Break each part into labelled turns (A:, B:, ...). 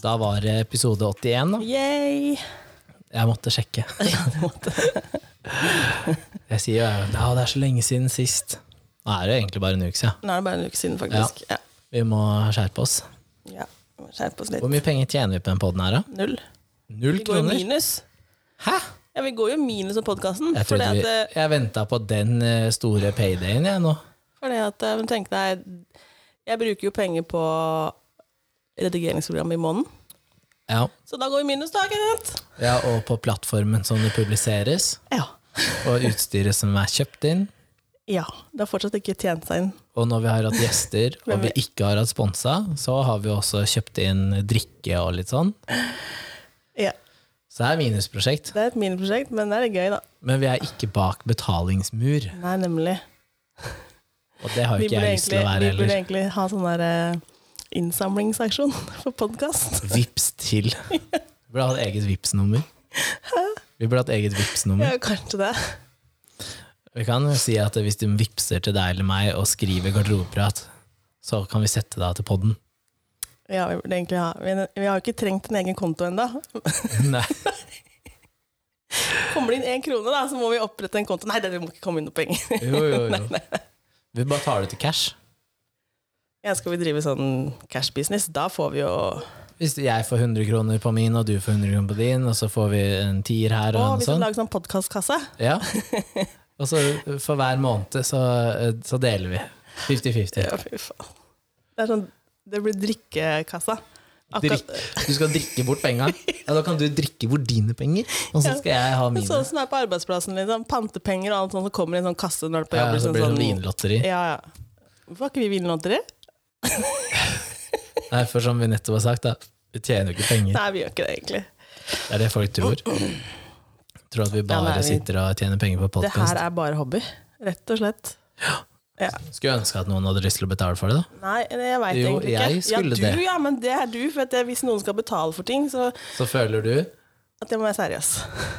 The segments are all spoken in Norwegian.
A: Da var det episode 81, da.
B: Yay!
A: Jeg måtte sjekke. jeg sier jo ja, det er så lenge siden sist. Nå er det egentlig bare en uke siden.
B: Nå er det bare en uke siden, faktisk. Ja.
A: Vi må skjerpe oss.
B: ja. Vi må Skjerpe oss litt.
A: Hvor mye penger tjener vi på den poden her, da?
B: Null.
A: Null
B: Vi går jo
A: kroner?
B: minus.
A: Hæ?
B: Ja, vi går jo minus på podkasten.
A: Jeg,
B: Fordi
A: trodde
B: at,
A: vi,
B: eh,
A: jeg venta på den eh, store paydayen, jeg nå.
B: fordi at eh, men tenk deg Jeg bruker jo penger på redigeringsprogrammet i måneden.
A: Ja.
B: Så da går vi minus, da, Kenneth.
A: ja, og på plattformen som det publiseres,
B: Ja.
A: og utstyret som er kjøpt inn.
B: ja. Det har fortsatt ikke tjent seg inn.
A: Og når vi har hatt gjester, og
B: Hvem
A: vi
B: vet?
A: ikke har hatt sponsa, så har vi også kjøpt inn drikke og litt sånn.
B: Ja.
A: Så det er minusprosjekt.
B: Det er et miniprosjekt, men det er litt gøy, da.
A: Men vi er ikke bak betalingsmur,
B: Nei, nemlig.
A: og det har
B: Vi
A: jo ikke
B: burde
A: jeg lyst til å
B: egentlig, vi
A: være
B: burde
A: heller.
B: egentlig ha sånn der eh, innsamlingsaksjon for podkast.
A: Vips til. Vi burde hatt eget Vipps-nummer. Vi burde hatt eget Vipps-nummer.
B: Ja, kanskje det.
A: Vi kan jo si at hvis du vipser til deg eller meg og skriver garderobeprat, så kan vi sette deg til podden.
B: Ja, vi burde egentlig ha Vi, vi har jo ikke trengt en egen konto ennå.
A: Nei.
B: Kommer det inn én krone, da, så må vi opprette en konto. Nei, det må ikke komme inn noe penger.
A: Jo, jo, jo. Vi bare tar det til cash.
B: Ja, skal vi drive sånn cash business, da får vi jo Å,
A: Hvis jeg får 100 kroner på min, og du får 100 kroner på din, og så får vi en tier her og en
B: vi skal
A: sånn.
B: lage sånn podkastkasse.
A: Ja. Og så for hver måned så, så deler vi. 50-50.
B: Ja, fy faen. Det er sånn Det blir drikkekassa.
A: Drikk. Du skal drikke bort penga. Ja, da kan du drikke bort dine penger, og så skal jeg ha
B: Men
A: mine.
B: Sånn som det er på arbeidsplassen. Liksom. Pantepenger og alt sånt som kommer i en sånn kasse når du er på
A: Ja,
B: jobb.
A: så
B: liksom
A: blir det
B: sånn-
A: sånn vinlotteri.
B: Ja, ja. Hvorfor har ikke vi vinlotteri?
A: Nei, for som vi nettopp har sagt, da, vi tjener jo ikke penger.
B: Nei, vi gjør ikke det, egentlig.
A: Det er det folk tror. Tror at vi
B: Ja,
A: bare
B: nei, vi-
A: sitter og tjener penger på
B: Det her
A: podkast.
B: er bare hobby, rett og slett. Ja.
A: Skulle ønske at noen hadde lyst til å betale for det, da.
B: Nei, jeg veit
A: Jo,
B: egentlig ikke.
A: jeg skulle
B: ja, du,
A: det.
B: ja, men det er du. For at jeg, hvis noen skal betale for ting, så
A: Så føler du
B: at jeg må være seriøs.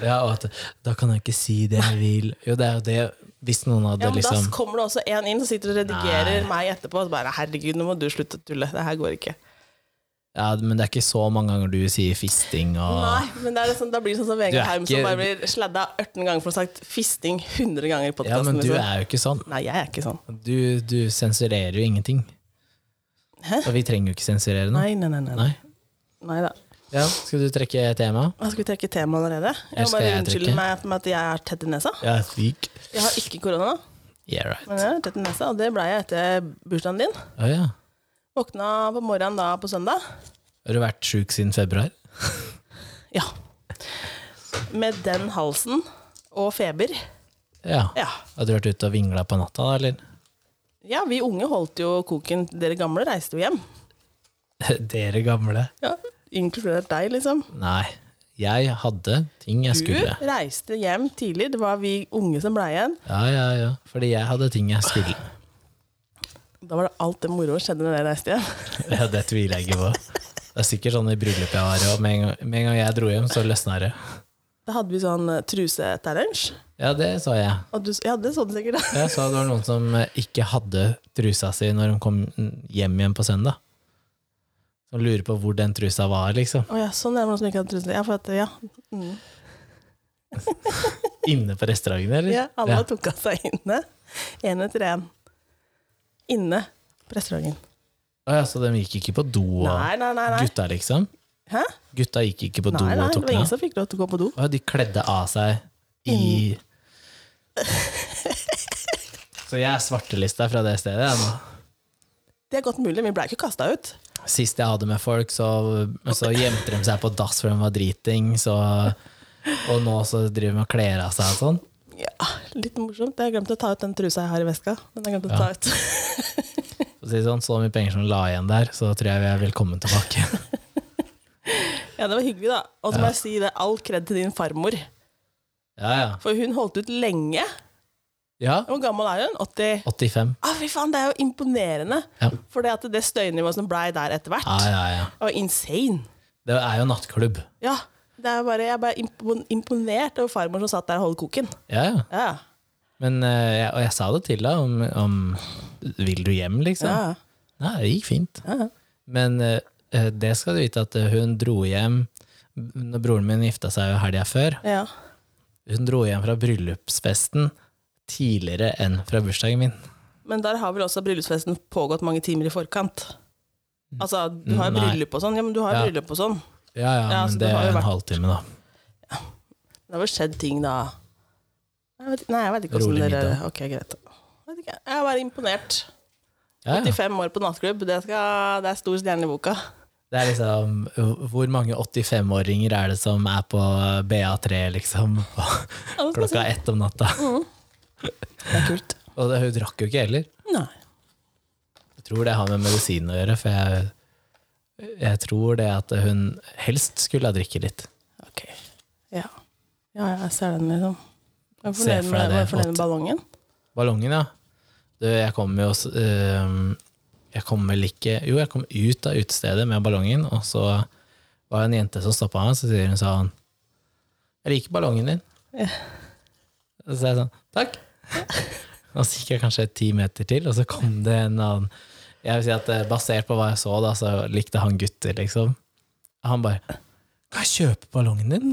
A: Ja, og at da kan jeg ikke si det jeg vil. Jo, det er jo det Hvis noen
B: Ja,
A: hadde
B: men
A: liksom
B: Da kommer det også en inn som sitter og redigerer
A: Nei.
B: meg etterpå. Og så bare 'herregud, nå må du slutte å tulle'. Det her går ikke.
A: Ja, men det er ikke så mange ganger du sier fisting og
B: Nei, men det er liksom, da blir det sånn som
A: Du er
B: Vegard Heim
A: ikke-
B: som bare blir sladda 18 ganger for å ha sagt fisting 100 ganger i
A: Ja, men
B: podkasten.
A: du er jo ikke sånn.
B: Nei, jeg er ikke sånn.
A: Du, du sensurerer jo ingenting.
B: Hæ?
A: Og vi trenger jo ikke sensurere noe.
B: Nei, nei, nei. nei.
A: Nei.
B: Nei da.
A: Ja, skal du trekke tema?
B: Hva, Skal vi trekke tema allerede? Jeg må
A: skal
B: bare
A: jeg
B: unnskylde
A: trekke?
B: meg med at jeg er tett i nesa.
A: Ja, syk.
B: Jeg har ikke korona,
A: Yeah, right.
B: men jeg er tett i nesa, og det blei jeg etter bursdagen din.
A: Å ja.
B: Våkna på morgenen da på søndag.
A: Har du vært sjuk siden februar?
B: Ja. Med den halsen og feber.
A: Ja.
B: Ja.
A: Har du vært ute og vingla på natta, da, eller?
B: ja, vi unge holdt jo koken. Dere gamle reiste jo hjem.
A: Dere gamle.
B: Ja, Inkludert deg, liksom.
A: Nei. Jeg hadde ting jeg
B: Du
A: skulle.
B: reiste hjem tidlig. Det var vi unge som blei igjen.
A: Ja, ja, ja. Fordi jeg hadde ting jeg skulle.
B: Da var det alt det moroa skjedde når dere reiste hjem.
A: Ja, det tviler jeg ikke på. Det er sikkert sånn i bryllup jeg var, og med en gang, med en gang jeg dro hjem, så løsna det.
B: Da hadde vi sånn eh, truse-challenge.
A: Ja, det så jeg.
B: Og du, ja, det så du sikkert. da.
A: Jeg sa det var noen som eh, ikke hadde trusa si når de kom hjem igjen på søndag. Som lurer på hvor den trusa var, liksom.
B: Å ja, sånn er det noen som ikke hadde truse. Ja, for at, ja. Mm.
A: Inne på restauranten, eller?
B: ja alle tok av seg inne. Én etter én. Inne på restauranten.
A: Å ja, så de gikk ikke på do og
B: Nei, nei, nei. nei.
A: Gutta, liksom?
B: Hæ?
A: Gutta gikk ikke på do
B: Nei, nei,
A: og
B: det
A: tok
B: var
A: den
B: ingen
A: av?
B: som fikk lov til å gå på do.
A: Å, de kledde av seg i Så jeg er svartelista fra det stedet. Jeg, nå.
B: Det er godt mulig, vi ble ikke kasta ut.
A: Sist jeg hadde med folk, så, så gjemte de seg på dass for de var driting. Så, og nå så driver de og kler av seg og sånn.
B: Ja, litt morsomt. Jeg glemte å ta ut den trusa jeg har i veska. Den har jeg glemt å ta ut.
A: For å si det sånn, så mye penger som la igjen der, så tror jeg vi er velkommen tilbake.
B: Ja, det var hyggelig, da. Og så må jeg si det, all kred til din farmor.
A: Ja, ja.
B: For hun holdt ut lenge.
A: ja
B: Hvor gammel er hun? 80?
A: 85.
B: Ah, fy faen, det er jo imponerende.
A: Ja.
B: For det, at det støynivået som blei der etter hvert,
A: Ja, ja, ja.
B: det var insane.
A: Det er jo nattklubb.
B: Ja. Det er bare, jeg ble impon- imponert over farmor som satt der og holdt koken.
A: Ja, ja.
B: Ja,
A: Men, eh, jeg, og jeg sa det til deg om, om Vil du hjem, liksom?
B: ja.
A: Nei, det gikk fint.
B: ja.
A: Men eh, eh, det skal du vite at eh, hun dro hjem når Broren min gifta seg jo helga før.
B: Ja.
A: Hun dro hjem fra bryllupsfesten tidligere enn fra bursdagen min.
B: Men der har vel også bryllupsfesten pågått mange timer i forkant? Altså, du har jo
A: Mm, Nei.
B: bryllup og sånn. Ja, men du har jo
A: Ja.
B: bryllup og sånn.
A: Ja, ja,
B: Ja,
A: men
B: så det
A: det
B: har
A: er
B: jo
A: en
B: vært-
A: halvtime, da.
B: Det har vel skjedd ting da jeg vet, Nei, jeg vet ikke hvordan
A: Rolig
B: dere
A: middag.
B: Ok, greit. Jeg, vet ikke. jeg er bare imponert.
A: Ja, ja.
B: 85 år på nattklubb, det, skal, det er stor stjerne i boka.
A: Det er liksom Hvor mange 85-åringer er det som er på BA3, liksom?
B: men skal
A: Klokka ett om natta.
B: Det er kult.
A: Og det, hun drakk jo ikke heller.
B: Nei.
A: Jeg tror det har med medisin å gjøre, for jeg, jeg tror det at hun helst skulle ha drikket litt.
B: Ok. Ja. ja, jeg ser den, liksom. Jeg er
A: Se
B: fornøyd
A: for
B: med,
A: deg
B: jeg
A: det,
B: er
A: godt.
B: fornøyd med ballongen.
A: Ballongen, ja. Du, jeg kom jo s- øhm, Jeg kom vel ikke Jo, jeg kom ut av utestedet med ballongen, og så var det en jente som stoppa meg, så sier hun sånn Jeg liker ballongen din.
B: Ja.
A: Og så sa jeg sånn Takk. Og så gikk jeg kanskje ti meter til, og så kom det en annen Jeg vil si at eh, basert på hva jeg så, da, så likte han gutter, liksom. Han bare Kan jeg kjøpe ballongen din?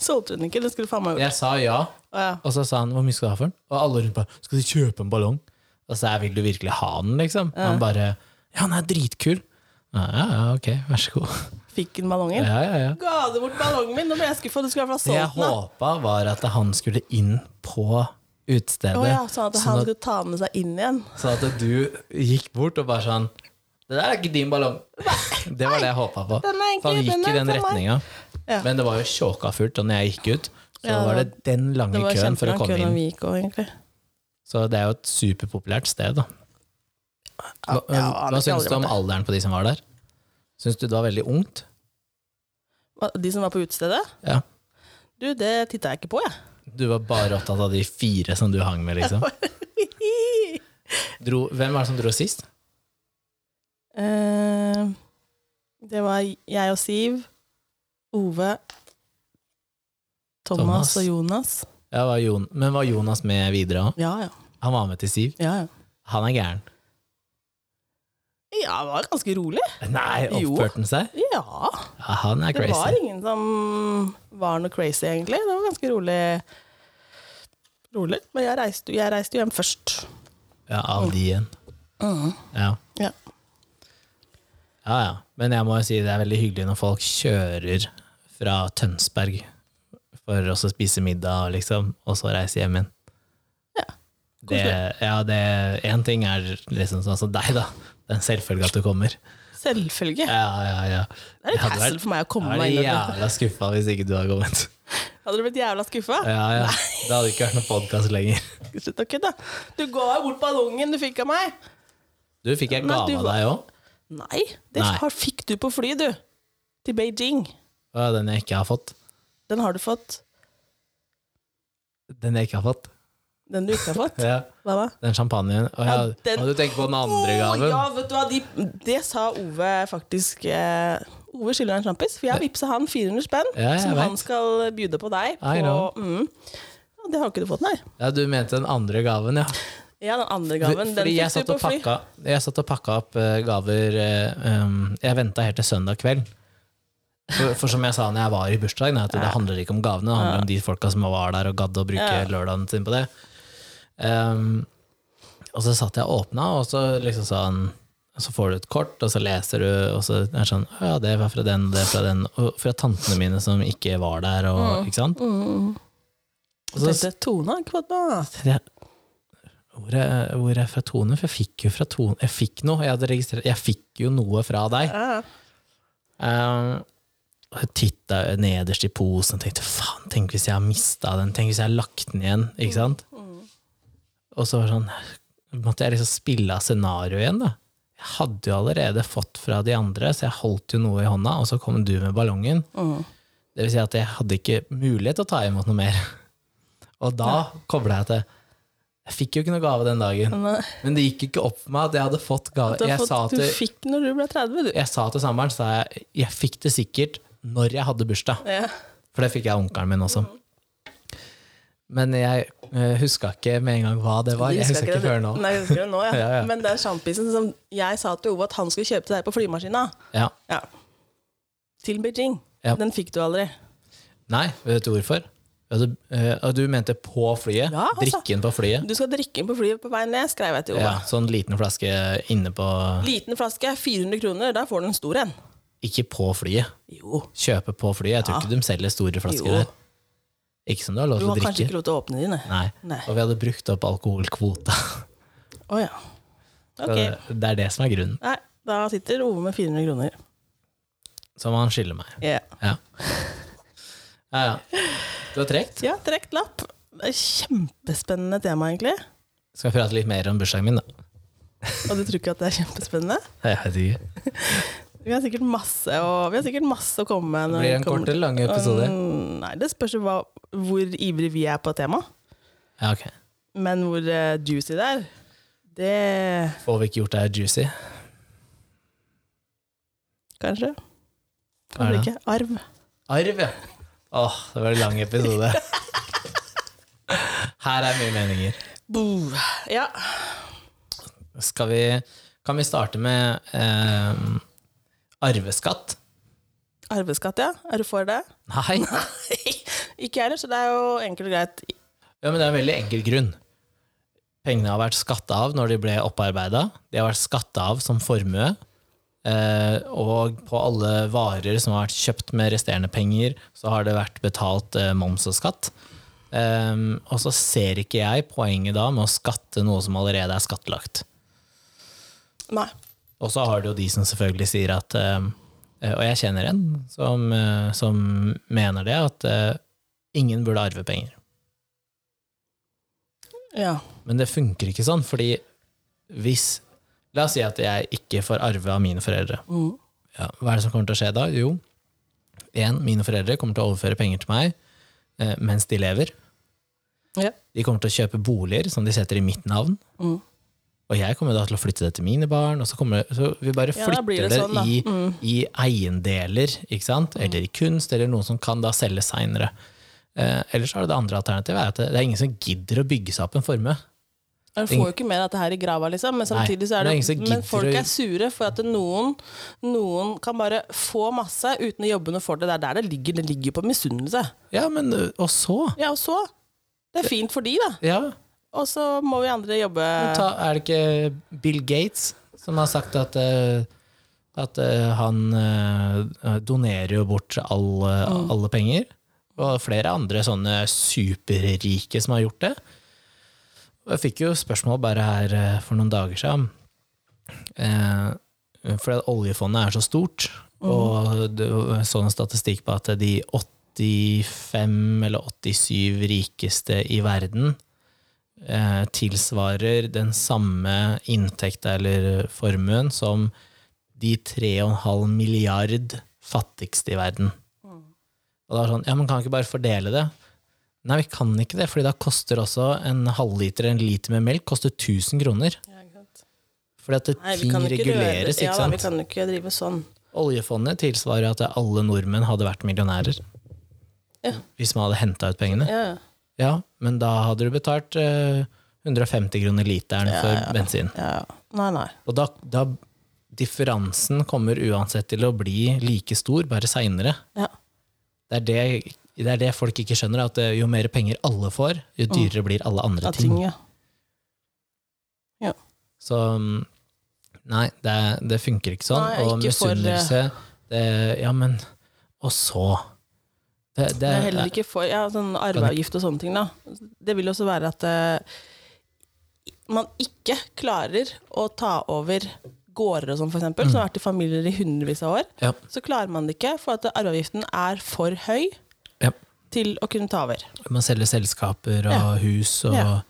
B: Solgte hun ikke, det skulle du faen meg gjort.
A: Jeg sa ja.
B: Å, Ja.
A: Og så sa han 'hvor mye skal du ha for den?' Og alle rundt bare 'skal du kjøpe en ballong?' Og så er 'vil du virkelig ha den', liksom. Han bare 'ja, den er dritkul'. Ja, ja, ja, ok, vær så god.
B: Fikk hun ballongen?
A: Ja, ja, ja.
B: Ga du bort ballongen min? Nå ble jeg skuffa, du skulle i hvert fall
A: Det jeg
B: solgt den. Sånn, da.
A: håpa, var at han skulle inn på utestedet,
B: Å ja, sånn at han
A: sånn, at,
B: skulle ta den med seg inn igjen.
A: sånn at du gikk bort og bare sånn 'det der er ikke din ballong'. Det var det jeg håpa på.
B: Den er
A: Så han
B: egentlig-
A: gikk
B: den
A: i
B: er
A: den
B: for meg.
A: retninga.
B: Ja.
A: Men det var jo tjåka fullt, og når jeg gikk ut, så
B: Ja,
A: var
B: det var-
A: det den lange
B: Det var
A: køen for å
B: kjempelang kø
A: komme
B: når
A: inn.
B: vi gikk òg, egentlig.
A: Så det er jo et superpopulært sted, da. Hva,
B: ja, han har
A: hva
B: ikke
A: syns
B: aldri
A: du om
B: vært der.
A: alderen på de som var der? Syns du det var veldig ungt?
B: Hva, De som var på utestedet?
A: Ja.
B: Du, det titta jeg ikke på, jeg.
A: Du var bare opptatt av de fire som du hang med, liksom? Dro, hvem var det som dro sist?
B: Eh, det var jeg og Siv, Ove, Thomas,
A: Thomas.
B: og Jonas.
A: Ja, var Jon, men var Jonas med videre òg?
B: Ja, ja.
A: Han var med til Siv.
B: Ja, ja.
A: Han er gæren.
B: ja det var ganske rolig.
A: Nei,
B: Jo.
A: oppførte han seg?
B: Ja.
A: Ja, han er
B: Det var
A: crazy.
B: ingen som var noe crazy, egentlig. Det var ganske rolig. Rolig. Men jeg reiste, jeg reiste jo hjem først.
A: Ja, av de igjen. Ja.
B: Ja.
A: ja, ja. Men jeg må jo si det er veldig hyggelig når folk kjører fra Tønsberg for å så spise middag, liksom, og så reise hjem igjen.
B: Ja.
A: Det, ja, det Én ting er liksom sånn som deg, da. Det er en selvfølge at du kommer.
B: Selvfølgelig.
A: Ja, ja, ja.
B: Det er
A: Jeg
B: litt
A: hadde
B: hassle
A: vært
B: for meg å
A: jeg
B: komme
A: hadde
B: meg
A: vært
B: inn. i det.
A: jævla skuffa hvis ikke du hadde kommet.
B: Hadde du blitt jævla skuffa?
A: Ja, ja. Det hadde ikke vært noen podkast lenger.
B: Slutt å kødde. Du ga jo bort ballongen du fikk av meg.
A: Du, fikk jeg
B: Men
A: gave av
B: du var-
A: deg òg?
B: Nei, det
A: Nei.
B: har- fikk du på fly, du. Til Beijing.
A: Ja, den jeg ikke har fått.
B: Den har du fått.
A: Den jeg ikke har fått.
B: Den du ikke har fått.
A: Ja,
B: Hva da?
A: den champagnen. Å, ja,
B: Ja, den-
A: Og du tenker på den andre
B: Å,
A: gaven?
B: ja, vet du hva. De, det sa Ove faktisk. Eh, Ove skylder en sjampis, for jeg har vippsa han 400 spenn,
A: Ja, jeg
B: som han
A: vet.
B: skal bjude på deg.
A: I
B: På,
A: know.
B: mm. Ja, det har ikke du fått, nei.
A: Ja, du mente den andre gaven, ja.
B: Ja, den andre gaven, den
A: Fordi jeg
B: fikk
A: satt,
B: du
A: og
B: på fly.
A: pakka, jeg satt og pakka opp eh, gaver eh, um, Jeg venta helt til søndag kveld. For, for som jeg sa når jeg var i bursdagen, at det handler ikke om gavene, det handler om de folka som var der og gadd å bruke
B: Ja.
A: lørdagen sin på det. Um, og så satt jeg og åpna, og så liksom sånn så får du et kort, og så leser du, og så er det sånn «Å Ja, det var fra den, det er fra den, og fra tantene mine som ikke var der, og
B: Mm.
A: ikke sant? Og så
B: Tenkte, Tone har ikke fått noe.
A: jeg, hvor, er, hvor er jeg fra Tone? For jeg fikk jo fra Tone Jeg fikk noe, jeg hadde registrert Jeg fikk jo noe fra deg.
B: Ja.
A: Um, og jeg titta nederst i posen og tenkte faen, tenk hvis jeg har mista den? Tenk hvis jeg har lagt den igjen? Ikke sant? Og så var det sånn måtte jeg liksom spille av scenarioet igjen, da. Jeg hadde jo allerede fått fra de andre, så jeg holdt jo noe i hånda, og så kom du med ballongen.
B: Mm.
A: Det vil si at jeg hadde ikke mulighet til å ta imot noe mer. Og da kobla jeg til. Jeg fikk jo ikke noe gave den dagen.
B: Men, eh,
A: Men det gikk ikke opp for meg at jeg hadde fått gave.
B: Du, har
A: Jeg,
B: fått,
A: sa
B: du
A: til,
B: fikk den når du ble 30, du.
A: jeg sa til samboeren sa jeg, jeg fikk det sikkert når jeg hadde bursdag.
B: Ja.
A: For det fikk jeg av onkelen min også. Men jeg uh, huska ikke med en gang hva det var. Jeg husker ikke
B: det.
A: før nå.
B: Nei, jeg husker det nå, ja.
A: Ja, ja.
B: Men det er sjampisen som jeg sa til Ove at han skulle kjøpe til deg på flymaskina.
A: Ja.
B: Ja. Til Beijing.
A: Ja.
B: Den fikk du aldri.
A: Nei, vet du hvorfor? Ja, du, eh, og du mente på flyet?
B: Ja, altså.
A: Drikken på flyet?
B: Du skal drikke inn på flyet på vei ned, skrev jeg til Ove.
A: Ja, sånn liten flaske inne på
B: Liten flaske, 400 kroner, der får du en stor en.
A: Ikke på flyet.
B: Jo.
A: Kjøpe på flyet. Jeg tror
B: Ja.
A: ikke de selger store flasker
B: Jo.
A: der. Ikke som du har lov
B: Du
A: til å
B: har kanskje
A: drikke.
B: ikke lov til å åpne dine.
A: Nei.
B: Nei.
A: Og vi hadde brukt opp alkoholkvota.
B: Å ja.
A: Så
B: Ok.
A: Det det er det som er grunnen.
B: Nei, da sitter Ove med 400 kroner.
A: Som han skylder meg.
B: Ja.
A: Ja. ja, ja. Du har trukket?
B: Ja, trekt lapp. Det er Kjempespennende tema, egentlig.
A: Skal vi prate litt mer om bursdagen min, da?
B: Og du tror ikke at det er kjempespennende?
A: Jeg vet ikke.
B: Vi har sikkert masse å, vi har sikkert masse å komme med. når
A: Blir det en
B: vi kommer-
A: kort eller lang episode?
B: Mm, Nei, det spørs jo hva, hvor ivrig vi er på temaet.
A: Ja, ok.
B: Men hvor eh, juicy det er, det
A: Får vi ikke gjort det her juicy?
B: kanskje.
A: Hva er
B: Kanskje ikke. Arv.
A: Arv, ja. Åh, det var en lang episode. Her er mye meninger.
B: Boo. Ja.
A: Skal vi, kan vi starte med eh, arveskatt?
B: Arveskatt, ja. Er du for det?
A: Nei.
B: ikke jeg heller, så det er jo enkelt og greit.
A: Ja, men det er en veldig enkel grunn. Pengene har vært skatta av når de ble opparbeida. De har vært skatta av som formue. Eh, og på alle varer som har vært kjøpt med resterende penger, så har det vært betalt eh, moms og skatt. Ehm, og så ser ikke jeg poenget da med å skatte noe som allerede er skattlagt.
B: Nei.
A: Og så har du jo de som selvfølgelig sier at eh, Og jeg kjenner en som, eh, som mener det, at eh, ingen burde arve penger.
B: Ja.
A: Men det funker ikke sånn, fordi hvis La oss si at jeg ikke får arve av mine foreldre.
B: Mm.
A: Ja, hva er det som kommer til å skje da? Jo, én, mine foreldre kommer til å overføre penger til meg eh, mens de lever.
B: ja.
A: De kommer til å kjøpe boliger som de setter i mitt navn.
B: Mm.
A: Og jeg kommer da til å flytte det til mine barn, og så, kommer, så vi bare
B: Ja, da
A: flytter
B: blir
A: det,
B: det sånn, da.
A: i, i eiendeler, ikke sant? Eller i kunst, eller noe som kan da selges seinere. Eh, ellers har det det andre alternativet, er at det, det er ingen som gidder å bygge seg opp en formue.
B: Du får jo ikke mer av dette her i grava, liksom, men samtidig så
A: men det
B: er det,
A: er ingen som
B: Men
A: gidder
B: folk
A: å-
B: er sure for at noen, noen kan bare få masse uten å jobbe noe for det. Det er der det ligger. Det ligger på misunnelse.
A: Ja, men ø, Og så?
B: Ja, og så Det er fint for de, da.
A: Ja,
B: Og så må vi andre jobbe
A: ta, er det ikke Bill Gates som har sagt at eh, at eh, han eh, donerer jo bort all, eh, alle penger. Og flere andre sånne superrike som har gjort det. Og jeg fikk jo spørsmål bare her eh, for noen dager siden. Eh, fordi at oljefondet er så stort, og det var sånn statistikk på at de 85 eller 87 rikeste i verden eh, tilsvarer den samme inntekta eller formuen som de 3,5 milliard fattigste i verden.
B: Mm.
A: Og da er det sånn, ja, men kan vi ikke bare fordele det? Nei, vi kan ikke det, fordi da koster også en halvliter, en liter med melk, koster 1000 kroner.
B: Ja, ikke sant.
A: Fordi at
B: Nei, vi
A: ting
B: kan jo ikke røre-
A: reguleres, ikke
B: ja, da,
A: sant?
B: Vi kan jo ikke drive sånn.
A: Oljefondet tilsvarer at alle nordmenn hadde vært millionærer.
B: Ja.
A: Hvis man hadde henta ut pengene.
B: Ja.
A: Ja, men da hadde du betalt eh, 150 kroner literen for bensin.
B: ja. Nei, nei.
A: Og da, da Differansen kommer uansett til å bli like stor, bare seinere.
B: Ja.
A: Det, er det, det er det folk ikke skjønner, at eh, jo mer penger alle får, jo dyrere blir alle andre
B: Av
A: ting.
B: ting, Mm. ja.
A: Så mm, nei, det, det funker ikke sånn.
B: Nei,
A: og
B: ikke for, eh,
A: misunnelse det, Ja, men Og så? Det, det,
B: Det er heller ikke for ja, sånn arveavgift og sånne ting. Da. Det vil også være at eh, man ikke klarer å ta over gårder og sånn, for eksempel, som har vært i familier i hundrevis av år.
A: ja,
B: Så klarer man det ikke, for at arveavgiften er for høy
A: ja.
B: til å kunne ta over.
A: Man selger selskaper og
B: Ja.
A: hus og
B: Ja.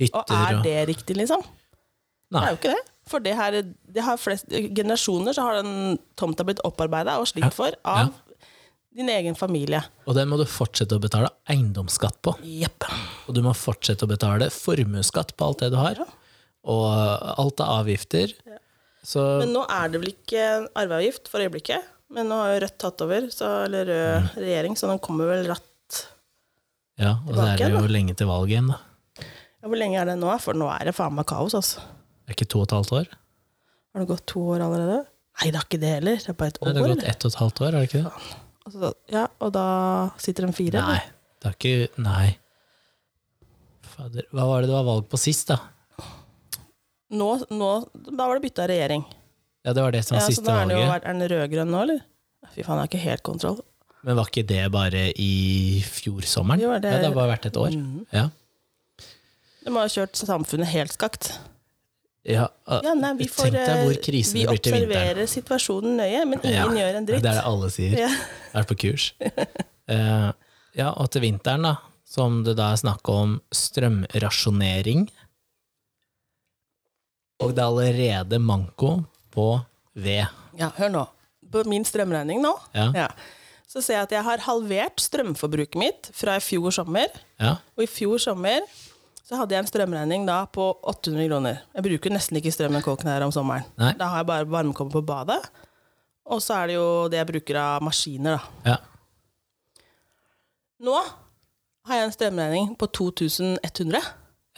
A: hytter
B: Og er det riktig, liksom? Det
A: Nei.
B: er jo ikke det. For det her, det har flest generasjoner så har den tomta blitt opparbeida og slitt for av din egen familie.
A: Og det må du fortsette å betale eiendomsskatt på.
B: Jepp.
A: Og du må fortsette å betale formuesskatt på alt det du har. Og alt av avgifter. Så
B: Men nå er det vel ikke arveavgift for
A: Mm.
B: øyeblikket. Men nå har jo Rødt tatt over, så, eller rød regjering, så den kommer vel ratt
A: Ja, og så er det
B: Tilbake,
A: jo lenge til valget igjen, da.
B: Ja, hvor lenge er det nå? For nå er det faen meg kaos, altså.
A: Det er ikke to og et halvt år?
B: Har det gått to år allerede? Nei, det er ikke det heller. Det er bare et år.
A: Nei, det har gått
B: eller?
A: ett og et halvt år, er det ikke det?
B: Og så- ja, og da sitter de fire?
A: Nei.
B: eller?
A: Det er ikke Nei. Fader. Hva var det det var valg på sist, da?
B: Nå, nå, da var det bytte av regjering.
A: Ja, det var det som
B: Ja,
A: var
B: så
A: siste
B: da er, det jo,
A: valget.
B: er den rød-grønn nå, eller? Fy faen, jeg har ikke helt kontroll.
A: Men var ikke det bare i fjor sommeren?
B: Jo, er det-
A: Ja, det har bare vært et år.
B: Mhm.
A: Ja.
B: De har jo kjørt samfunnet helt skakt.
A: ja, uh,
B: Ja, nei, vi får,
A: Tenk deg hvor
B: eh,
A: krisen
B: vi
A: blir til vinteren.
B: observerer situasjonen nøye, men
A: Ja,
B: ingen gjør en dritt.
A: Det er det alle sier.
B: Ja.
A: Er på kurs. Eh, ja, og til vinteren, da, som det da er snakk om strømrasjonering Og det er allerede manko på ved.
B: ja, hør nå. På min strømregning nå,
A: Ja,
B: ja. så ser jeg at jeg har halvert strømforbruket mitt fra i fjor sommer.
A: ja.
B: Og i fjor sommer så hadde jeg en strømregning da på 800 kroner. Jeg bruker nesten ikke strøm med kåken her om sommeren.
A: Nei.
B: Da har jeg bare varmekåpe på badet. Og så er det jo det jeg bruker av maskiner, da.
A: ja.
B: Nå har jeg en strømregning på 2100,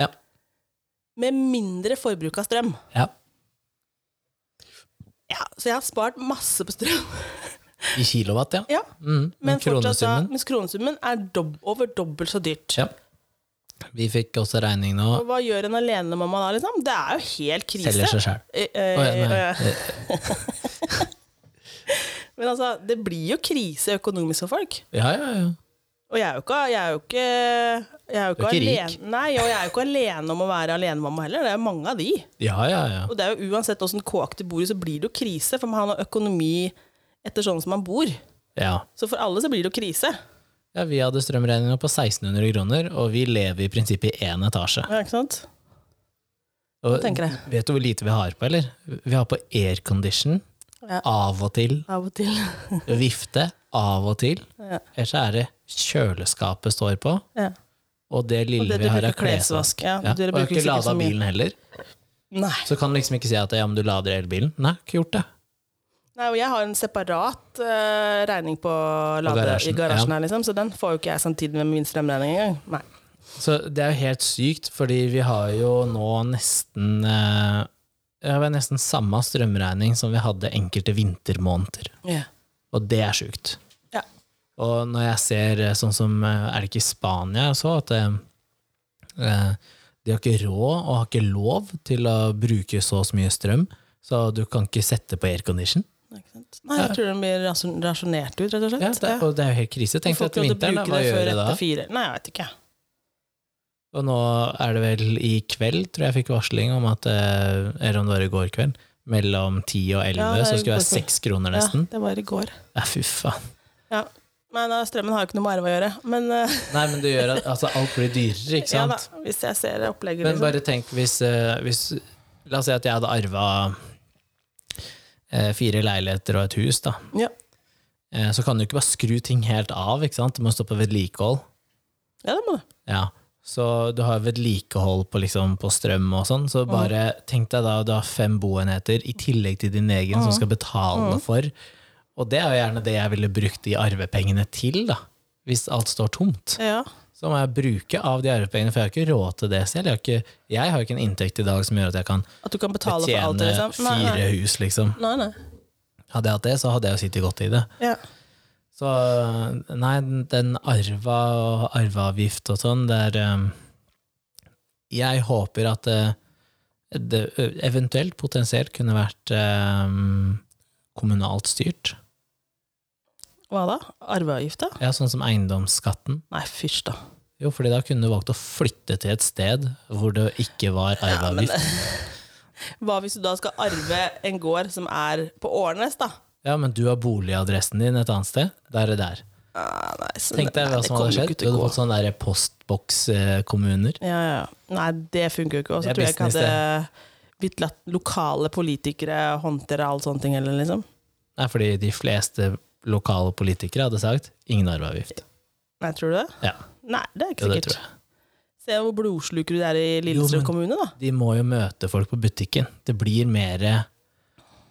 A: ja.
B: med mindre forbruk av strøm.
A: ja.
B: Ja, så jeg har spart masse på strøm.
A: I kilowatt, ja.
B: Ja,
A: Mm, men
B: men fortsatt da,
A: kronesummen
B: mens kronesummen er dob over dobbelt så dyrt.
A: ja. Vi fikk også regning nå.
B: Og hva gjør en alenemamma da, liksom? Det er jo helt krise.
A: Selger seg sjæl.
B: Eh, eh, eh,
A: Å
B: Men altså, det blir jo krise økonomisk for folk.
A: ja, ja, ja.
B: Og jeg er jo ikke, jeg er jo ikke, jeg er jo
A: Du
B: ikke,
A: er ikke
B: alene, Nei, og jeg er jo ikke alene om å være alenemamma heller. Det er jo mange av de.
A: Ja, ja, ja.
B: Og det er jo uansett åssen kåk det bor i, så blir det jo krise. For man har noe økonomi etter sånn som man bor.
A: ja.
B: Så for alle så blir det jo krise.
A: ja vi hadde strømregninga på 1600 kroner, og vi lever i prinsippet i én etasje.
B: Ja, ikke sant?
A: Og
B: tenker jeg.
A: vet du hvor lite vi har på, eller? Vi har på aircondition.
B: Ja.
A: Av og til.
B: Av og til.
A: Vifte. Av og til.
B: Ja.
A: Ellers så er det kjøleskapet står på,
B: Ja.
A: og det lille
B: Og det
A: vi
B: du
A: har, er
B: bruker klesvask.
A: klesvask.
B: Ja,
A: Ja. Og jeg
B: dere
A: har
B: bruker
A: ikke
B: sikkert
A: lada
B: så mye.
A: bilen heller.
B: Nei.
A: Så kan du liksom ikke si at ja, men du lader elbilen. Nei, ikke gjort det.
B: Nei, og jeg har en separat eh, regning på lade
A: garasjen,
B: i garasjen
A: ja.
B: her, liksom, så den får jo ikke jeg samtidig med min strømregning engang. Nei.
A: Så det er jo helt sykt, fordi vi har jo nå nesten eh, ja, vi har nesten samme strømregning som vi hadde enkelte vintermåneder.
B: Ja.
A: Og det er sjukt.
B: Ja.
A: Og når jeg ser eh, sånn som eh, Er det ikke i Spania jeg så at eh, de har ikke råd og har ikke lov til å bruke så og så mye strøm, så du kan ikke sette på aircondition.
B: Ikke sant? Nei, jeg tror den blir rason- rasjonert ut, rett og slett.
A: Ja, det, og det er jo helt krise. Tenk deg
B: Folk
A: til
B: måtte
A: vinteren, da,
B: bruke
A: hva
B: det
A: gjør
B: før
A: du da?
B: etter fire. Nei, jeg vet ikke.
A: Og nå er det vel i kveld, tror jeg jeg fikk varsling om at eh, Eller om det var i går kveld. Mellom 10 og 11
B: Ja, det er
A: så skulle det
B: i
A: være
B: går kveld.
A: seks kroner nesten.
B: Ja, det var i går.
A: Ja. fy faen.
B: Ja. Men eh, strømmen har jo ikke noe med arv å gjøre. Men eh,
A: Nei, men det gjør at altså, alt blir dyrere, ikke
B: ja
A: sant?
B: da, hvis jeg ser opplegget,
A: Men
B: liksom.
A: bare tenk hvis, eh, hvis La oss si at jeg hadde arva eh, fire leiligheter og et hus, da.
B: Ja.
A: Eh, så kan du ikke bare skru ting helt av, ikke sant? Du må stå på vedlikehold.
B: ja, det må du.
A: Ja. Så du har vedlikehold på, liksom, på strøm og sånn. Så bare tenk deg da du har fem boenheter i tillegg til din egen som skal betale for. Og det er jo gjerne det jeg ville brukt de arvepengene til, da. Hvis alt står tomt.
B: Ja.
A: Så må jeg bruke av de arvepengene, for jeg har ikke råd til det selv. Jeg har ikke, jeg har ikke en inntekt i dag som gjør at jeg kan
B: At du kan betale for alt,
A: betjene
B: liksom. Nei,
A: fire
B: nei.
A: hus, liksom.
B: Nei, nei.
A: Hadde jeg hatt det, så hadde jeg jo sittet godt i det.
B: Ja.
A: Så nei, den- den arva og arveavgift og sånn, det er um, Jeg håper at det, det eventuelt, potensielt, kunne vært um, kommunalt styrt.
B: Hva da? Arveavgift, da?
A: Ja, sånn som eiendomsskatten.
B: Nei, fysj, da.
A: Jo, fordi da kunne du valgt å flytte til et sted hvor det ikke var arveavgift.
B: Hva hvis du da skal arve en gård som er på Årnes, da?
A: Ja, men du har boligadressen din et annet sted. Der er det der.
B: Ah, nei, så-
A: Tenk deg hva
B: nei, det
A: som
B: kommer
A: hadde
B: jo
A: skjedd.
B: ikke
A: Du
B: til å
A: hadde
B: gå.
A: fått sånne der postbokskommuner.
B: Ja, ja. Nei, det funker jo ikke. Og så
A: Det er
B: tror jeg ikke
A: business,
B: hadde blitt latt lokale politikere håndtere alt sånne ting heller, liksom.
A: Nei, fordi de fleste lokale politikere hadde sagt ingen arveavgift.
B: Nei, tror du det?
A: Ja,
B: Nei, det er ikke
A: jo, det
B: sikkert.
A: tror jeg.
B: Se hvor blodsluker du er i
A: Jo,
B: Lillestrøm
A: men-
B: kommune, da.
A: De må jo møte folk på butikken. Det blir mer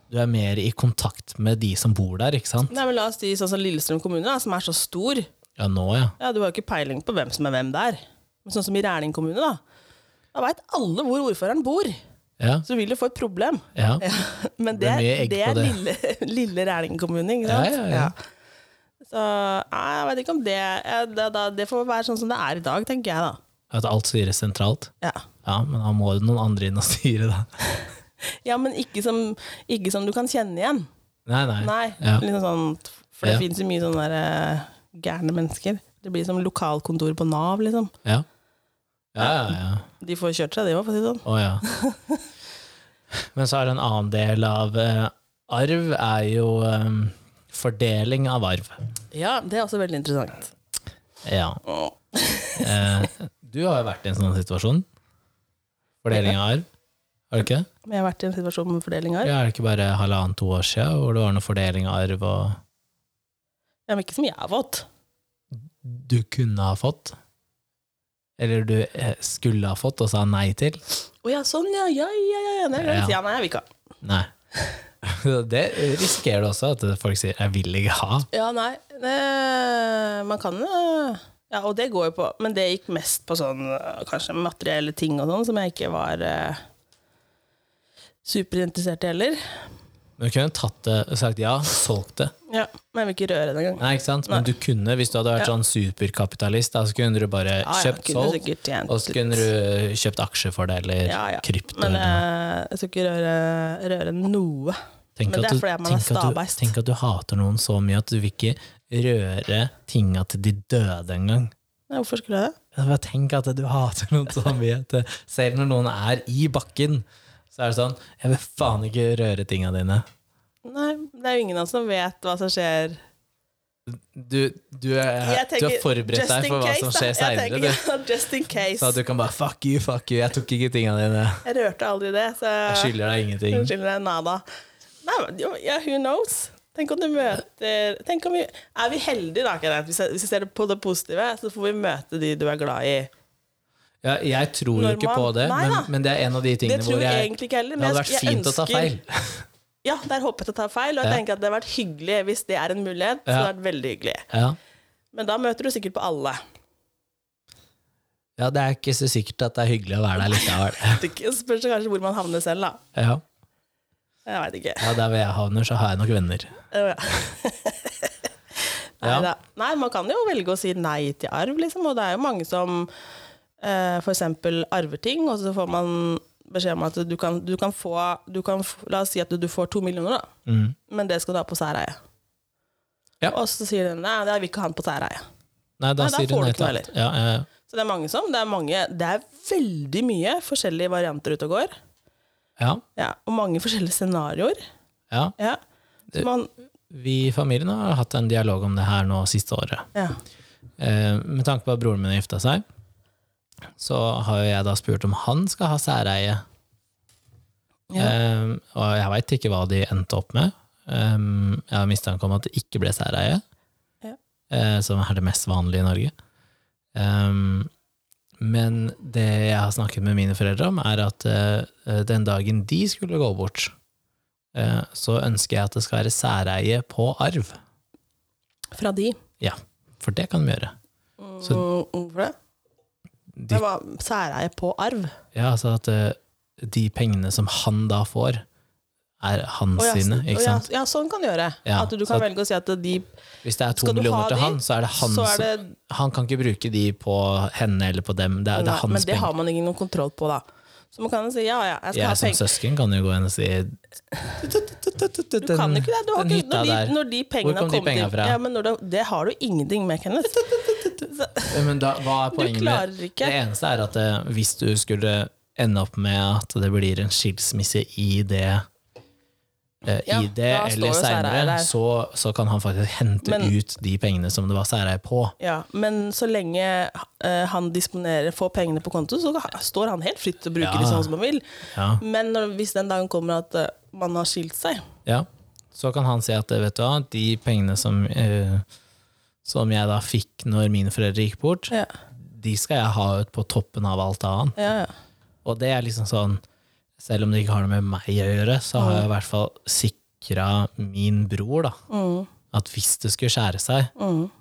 A: Du er mer i kontakt med de som bor der, ikke sant?
B: Nei, men La oss si sånn som Lillestrøm kommune, da, som er så stor.
A: Ja, nå, ja.
B: Ja, Du har jo ikke peiling på hvem som er hvem der. Men sånn som i Rælingen kommune, da. Da veit alle hvor ordføreren bor.
A: Ja,
B: Så du vil jo få et problem.
A: ja.
B: Ja, men
A: Det
B: det,
A: er mye
B: er-
A: egg
B: det
A: på
B: er
A: det.
B: lille, lille Rælingen kommune, ikke
A: Ja,
B: sant?
A: ja, ja.
B: Så nei, jeg vet ikke om det, ja, det, da- det får være sånn som det er i dag, tenker jeg da.
A: At alt styres sentralt.
B: Ja,
A: Ja, men da må jo noen andre inn og styre, da.
B: ja men ikke som, ikke som du kan kjenne igjen.
A: Nei, nei.
B: Nei,
A: Ja.
B: liksom sånn, for det
A: Ja.
B: finnes jo mye sånne der, eh, gærne mennesker. Det blir som lokalkontor på Nav, liksom.
A: Ja, ja, ja. ja.
B: De får kjørt seg, de òg, for å si det sånn.
A: Å ja. Men så er det en annen del av eh, arv, er jo eh, fordeling av arv.
B: Ja, det er også veldig interessant.
A: Ja.
B: Åh.
A: Eh, du har jo vært i en sånn situasjon. Fordeling av arv. Har du ikke?
B: Men jeg har vært i en situasjon med fordeling
A: Ja,
B: her.
A: er det ikke bare halvannet-to år siden hvor det var noe fordeling av arv og
B: Ja, men ikke som jeg har fått.
A: du kunne ha fått? Eller du eh, skulle ha fått og sa nei til?
B: Å ja, sånn, ja, ja, ja, ja, ja, nei,
A: Ja.
B: ja. ja, nei jeg vil ikke ha.
A: Nei. Det risikerer du også, at folk sier 'jeg vil ikke ha'.
B: Ja, nei eh, Man kan eh, Ja, og det går jo på Men det gikk mest på sånn eh, Kanskje materielle ting og sånn Som jeg ikke var eh, Superinteressert i heller
A: Men du kunne tatt det og sagt ja, solgt det.
B: Ja, men jeg vil ikke røre det engang
A: Nei, ikke sant? Men du kunne, hvis du hadde vært
B: Ja.
A: sånn superkapitalist, da, så kunne du bare
B: Ja, ja,
A: kjøpt
B: kunne
A: solgt,
B: sikkert tjent
A: og så
B: litt.
A: kunne du kjøpt aksjer for det, eller
B: Ja, ja.
A: krypto.
B: Men
A: eller noe.
B: eh, jeg skal ikke røre, røre noe
A: Tenk
B: men
A: at
B: det er
A: du-
B: fordi man er
A: tenk at du-
B: stabeist.
A: Tenk at du hater noen så mye at du vil ikke røre tinga til de døde engang.
B: Nei, hvorfor skulle jeg det?
A: Jeg Bare tenk at du hater noen så mye at eh, selv når noen er i bakken, så er det sånn Jeg vil faen ikke røre tinga dine.
B: Nei, det er jo ingen av oss som vet hva som skjer
A: Du, du, er,
B: Jeg
A: du har
B: tenker,
A: forberedt
B: just
A: deg
B: in
A: for hva
B: case,
A: som
B: da.
A: skjer
B: Jeg tenker,
A: seinere.
B: ja, Just in
A: Så
B: case
A: at du kan bare 'fuck you, fuck you', jeg tok ikke tinga dine.
B: Jeg rørte aldri det så
A: Jeg skylder deg ingenting.
B: Hun skylder deg nada. Nei, men jo, ja, who knows? Tenk om du møter tenk om vi, Er vi heldige, da, Kenneth? Hvis, jeg- hvis vi ser det på det positive, så får vi møte de du er glad i.
A: Ja, jeg tror jo
B: Når
A: ikke
B: man-
A: på det,
B: Nei da.
A: men, men det er en av de
B: Det
A: tingene
B: tror
A: hvor
B: jeg
A: jeg
B: egentlig ikke heller.
A: Det hadde vært
B: jeg- jeg
A: fint å ta
B: ønsker-
A: feil.
B: Ja, der håpet jeg å ta feil, og jeg
A: Ja.
B: tenker at det hadde vært hyggelig hvis det er en mulighet. Så
A: Ja.
B: det hadde vært veldig hyggelig.
A: Ja.
B: Men da møter du sikkert på alle.
A: ja, det er ikke så sikkert at det er hyggelig å være der likevel.
B: Det ikke- spørs det kanskje hvor man havner selv, da.
A: Ja.
B: Jeg veit ikke.
A: ja, der hvor jeg havner, så har jeg nok venner.
B: Ja.
A: Ja.
B: Neida. Nei, man kan jo velge å si nei til arv, liksom. Og det er jo mange som eh, for eksempel arver ting, og så får man beskjed om at du kan, du kan få du kan, f- La oss si at du, du får to millioner, da.
A: Mm.
B: Men det skal du ha på særeie.
A: Ja.
B: Og så sier den nei, det vil ikke ha den på særeie.
A: Nei, da
B: Nei, da
A: sier
B: får
A: hun
B: du
A: nei
B: ikke noe
A: til alt. Ja, ja, ja.
B: Så det er mange som. Det er, mange, det er veldig mye forskjellige varianter ute og går.
A: ja.
B: Ja, og mange forskjellige scenarioer.
A: ja.
B: Ja. Så man,
A: Vi i familien har hatt en dialog om det her nå siste året.
B: ja.
A: Eh, med tanke på at broren min har gifta seg, så har jo jeg da spurt om han skal ha særeie.
B: Ja.
A: Eh, og jeg veit ikke hva de endte opp med. Eh, jeg har mistanke om at det ikke ble særeie,
B: Ja.
A: eh, som er det mest vanlige i Norge. Eh, men det jeg har snakket med mine foreldre om, er at eh, den dagen de skulle gå bort, eh, så ønsker jeg at det skal være særeie på arv.
B: Fra de.
A: Ja, for det kan de gjøre. Så-
B: Mm, Hvorfor det?
A: De
B: Det var særeie på arv.
A: Ja, altså at eh, de pengene som han da får, er hans
B: Å ja,
A: sine,
B: å
A: ikke
B: ja,
A: sant?
B: Ja, sånn kan du gjøre.
A: Ja,
B: at du
A: så
B: kan velge å si at de
A: Hvis det er to
B: Skal du
A: millioner
B: ha
A: til
B: de,
A: han, så er det han
B: Så er
A: som
B: det,
A: Han kan ikke bruke de på henne eller på dem, det er, det er
B: Men
A: hans
B: det har
A: penger.
B: man ingen kontroll på, da. Så man kan jo si ja, ja, jeg skal
A: Jeg
B: ha
A: som
B: penger.
A: søsken kan jo gå inn og si
B: Du kan jo ikke det. Du har
A: den
B: ikke,
A: hytta
B: når,
A: der.
B: de, når de pengene
A: kom de
B: har kommet
A: penga
B: inn-
A: fra?
B: Ja, men når det, det har du ingenting med, Kenneth.
A: Men da, hva er
B: Du
A: poenget med
B: klarer
A: Det
B: ikke.
A: eneste er at eh, hvis du skulle ende opp med at det blir en skilsmisse i det eh,
B: Ja,
A: I det
B: da står
A: eller
B: jo særeie
A: seinere,
B: der.
A: så, så kan han faktisk hente
B: Men-
A: ut de pengene som det var særeie på.
B: Ja, men så lenge eh, han disponerer, får pengene på konto, så ha- står han helt fritt til å bruke
A: Ja.
B: de sånn som han vil.
A: Ja.
B: Men når, hvis den dagen kommer at eh, man har skilt seg,
A: Ja, så kan han si at eh, vet du hva, de pengene som, eh, som jeg da fikk når mine foreldre gikk bort,
B: ja,
A: de skal jeg ha ut på toppen av alt annet.
B: ja, ja.
A: Og det er liksom sånn, selv om
B: Mm.
A: det ikke har noe med meg å gjøre, så har jeg i hvert fall sikra min bror da,
B: Mm.
A: at hvis det skulle skjære seg,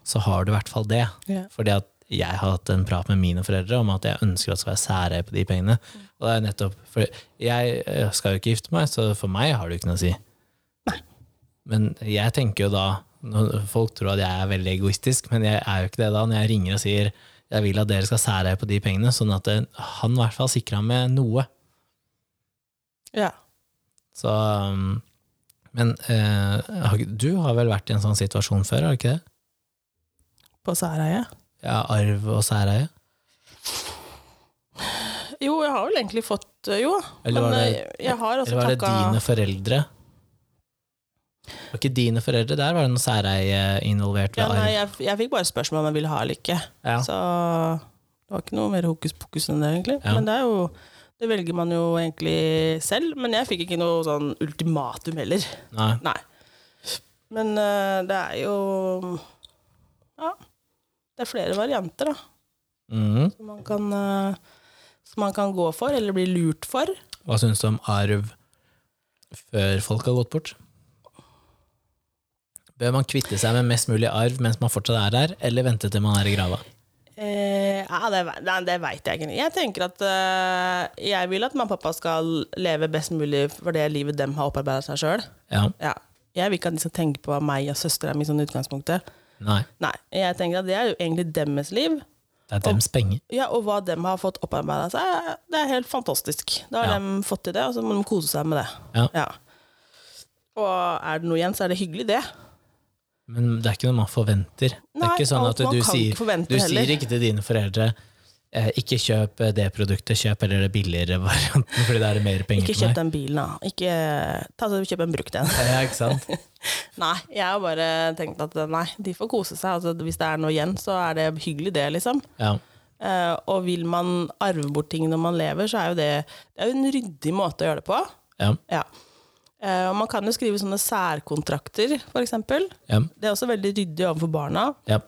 A: så har du i hvert fall det.
B: Ja.
A: Fordi at jeg har hatt en prat med mine foreldre om at jeg ønsker at det skal være særeie på de pengene. Og det er nettopp, for jeg eh, skal jo ikke gifte meg, så for meg har det jo ikke noe å si. Men jeg tenker jo da nå- Folk tror at jeg er veldig egoistisk, men jeg er jo ikke det da. Når jeg ringer og sier jeg vil at dere skal særeie på de pengene, sånn at det, han i hvert fall sikrer ham med noe.
B: Ja.
A: Så, um, men eh, har ikke- du har vel vært i en sånn situasjon før, har du ikke det?
B: På særeie.
A: Ja, arv og særeie?
B: Jo, jeg har vel egentlig fått øh, Jo,
A: Eller var
B: men
A: det-
B: øh, jeg har
A: Eller
B: altså
A: var det
B: takka
A: dine foreldre? Var ikke dine foreldre der? Var det noe særeie involvert ved
B: ja, nei,
A: arv?
B: jeg, jeg fikk bare spørsmål om jeg ville ha eller ikke.
A: Ja.
B: Så det var ikke noe mer hokus pokus enn det, egentlig.
A: Ja.
B: Men det er jo det velger man jo egentlig selv, men jeg fikk ikke noe sånn ultimatum heller.
A: Nei.
B: Nei. Men øh, det er jo Ja. Det er flere varianter, da.
A: Mhm.
B: Som man kan, øh, som man kan gå for, eller bli lurt for.
A: Hva syns du om arv før folk har gått bort? Bør man kvitte seg med mest mulig arv mens man fortsatt er her, eller vente til man er i grava?
B: Eh, ja, det, ve- nei, det veit jeg ikke. Jeg tenker at eh, jeg vil at mamma og pappa skal leve best mulig for det livet dem har opparbeida seg sjøl.
A: Ja.
B: Ja. Jeg vil ikke at de skal tenke på meg og søstera mi sånn i utgangspunktet.
A: Nei.
B: Nei, jeg tenker at Det er jo egentlig deres liv,
A: Det er dems penger.
B: ja, og hva dem har fått opparbeida seg. Det er helt fantastisk. Da har
A: Ja.
B: dem fått til det, og så må de kose seg med det.
A: Ja.
B: Og er det noe igjen, så er det hyggelig, det.
A: Men det er ikke noe man forventer. det
B: Nei,
A: er ikke sånn
B: alt
A: at
B: man
A: du,
B: kan ikke
A: sier,
B: forvente
A: du
B: heller.
A: sier ikke til dine foreldre eh, ikke kjøp eh, det produktet, kjøp heller det billigere varianten, fordi det er mer penger
B: Ikke
A: til
B: kjøp
A: meg.
B: den bilen, da. Ikke, ta så Kjøp en brukt en.
A: Ja, ikke sant?
B: Nei, jeg har bare tenkt at eh, nei, de får kose seg. Altså, hvis det er noe igjen, så er det hyggelig, det, liksom.
A: Ja.
B: Eh, og vil man arve bort ting når man lever, så er jo det, det er jo en ryddig måte å gjøre det på.
A: Ja.
B: Ja. Eh, og man kan jo skrive sånne særkontrakter, f.eks. Det
A: Ja.
B: er også veldig ryddig overfor barna.
A: ja.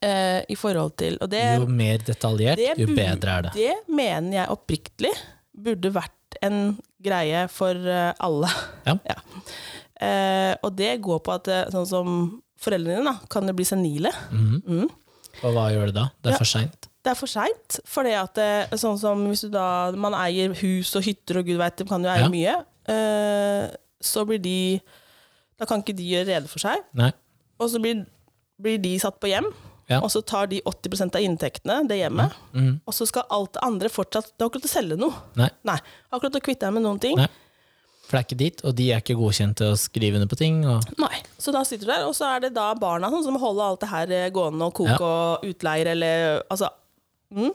B: eh, i forhold til, og det,
A: Jo mer detaljert,
B: Eh, det
A: jo
B: bu-
A: bedre er det.
B: det mener jeg oppriktig burde vært en greie for eh, alle.
A: Ja.
B: Eh, og det går på at eh, sånn som foreldrene dine, da, kan det bli senile.
A: Mm. Og hva gjør du da? Det
B: Ja.
A: er for seint.
B: Det er for seint. For at eh, sånn som hvis du da man eier hus og hytter og gud veit, de kan jo eie
A: Ja.
B: mye, eh, så blir de Da kan ikke de gjøre rede for seg.
A: Nei.
B: Og så blir, blir de satt på hjem,
A: Ja.
B: og så tar de 80 av inntektene, det hjemmet.
A: Mhm.
B: Og så skal alt det andre fortsatt Du har ikke lov til å selge noe.
A: Nei.
B: Nei, jeg har ikke lov til å kvitte deg med noen ting.
A: Nei. For det er ikke dit, og de er ikke godkjent til å skrive under på ting. Og...
B: Nei. Så da sitter du der, og så er det da barna sånn, som holder alt det her eh, gående, og koke
A: Ja.
B: og utleier eller Altså. Mm.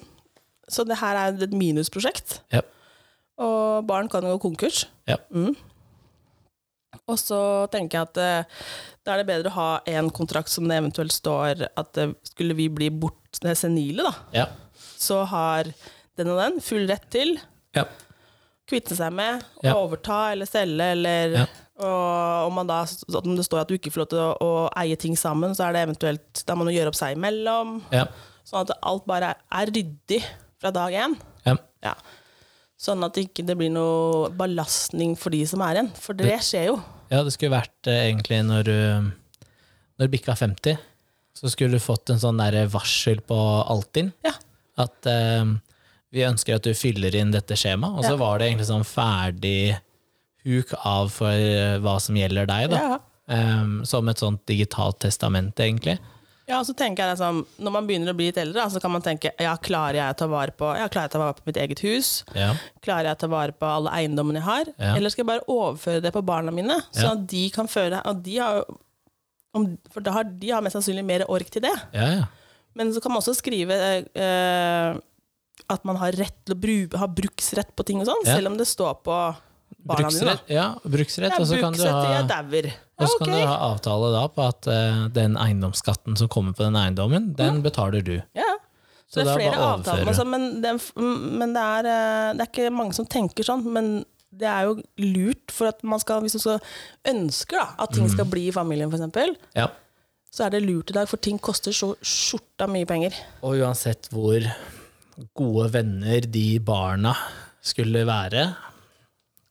B: Så det her er et minusprosjekt,
A: Ja.
B: og barn kan jo gå konkurs.
A: Ja.
B: Mm. Og så tenker jeg at eh, da er det bedre å ha én kontrakt som det eventuelt står at eh, skulle vi bli bort det er senile, da,
A: Ja.
B: så har den og den full rett til
A: Ja.
B: kvitte seg med,
A: Ja.
B: overta eller selge, eller
A: Ja.
B: og om, man da, om det står at du ikke får lov til å, å eie ting sammen, så er det eventuelt da må man gjøre opp seg imellom.
A: Ja.
B: Sånn at alt bare er, er ryddig fra dag én.
A: ja.
B: Ja. Sånn at det ikke det blir noe belastning for de som er igjen. For det skjer jo.
A: Ja, det skulle vært eh, egentlig når du Når du bikka 50, så skulle du fått en sånn der varsel på Altinn.
B: Ja.
A: At eh, vi ønsker at du fyller inn dette skjemaet. Og så
B: Ja.
A: var det egentlig sånn ferdig huk av for eh, hva som gjelder deg, da.
B: Ja.
A: Eh, som et sånt digitalt testament, egentlig.
B: Ja, og så tenker jeg liksom, Når man begynner å bli litt eldre, da, så kan man tenke ja, klarer jeg å ta vare på, ja, klarer jeg å ta vare på mitt eget hus?
A: Ja.
B: Klarer jeg å ta vare på alle eiendommene jeg har?
A: Ja.
B: Eller skal jeg bare overføre det på barna mine?
A: Ja.
B: Sånn at de kan føre at de har, om, For da har de har mest sannsynlig mer ork til det.
A: Ja, ja.
B: Men så kan man også skrive eh, eh, at man har, rett til å bruke, har bruksrett på ting og sånn,
A: Ja.
B: selv om det står på barna dine.
A: Bruksrett, ja, bruksrett
B: Ja,
A: og så kan du
B: bruksrett til jeg
A: ha
B: dauer. Ja,
A: og så kan
B: ok.
A: du ha avtale da på at eh, den eiendomsskatten som kommer på den eiendommen, den betaler du.
B: Ja. Så,
A: Så
B: det
A: da
B: er flere
A: bare
B: avtaler,
A: overfører.
B: altså, men, det, er- men det, er, eh, det er ikke mange som tenker sånn. Men det er jo lurt, for at man skal, hvis du skal ønsker da, at ting
A: Mm.
B: skal bli i familien, f.eks.,
A: Ja.
B: så er det lurt i dag, for ting koster så skjorta mye penger.
A: Og uansett hvor gode venner de barna skulle være,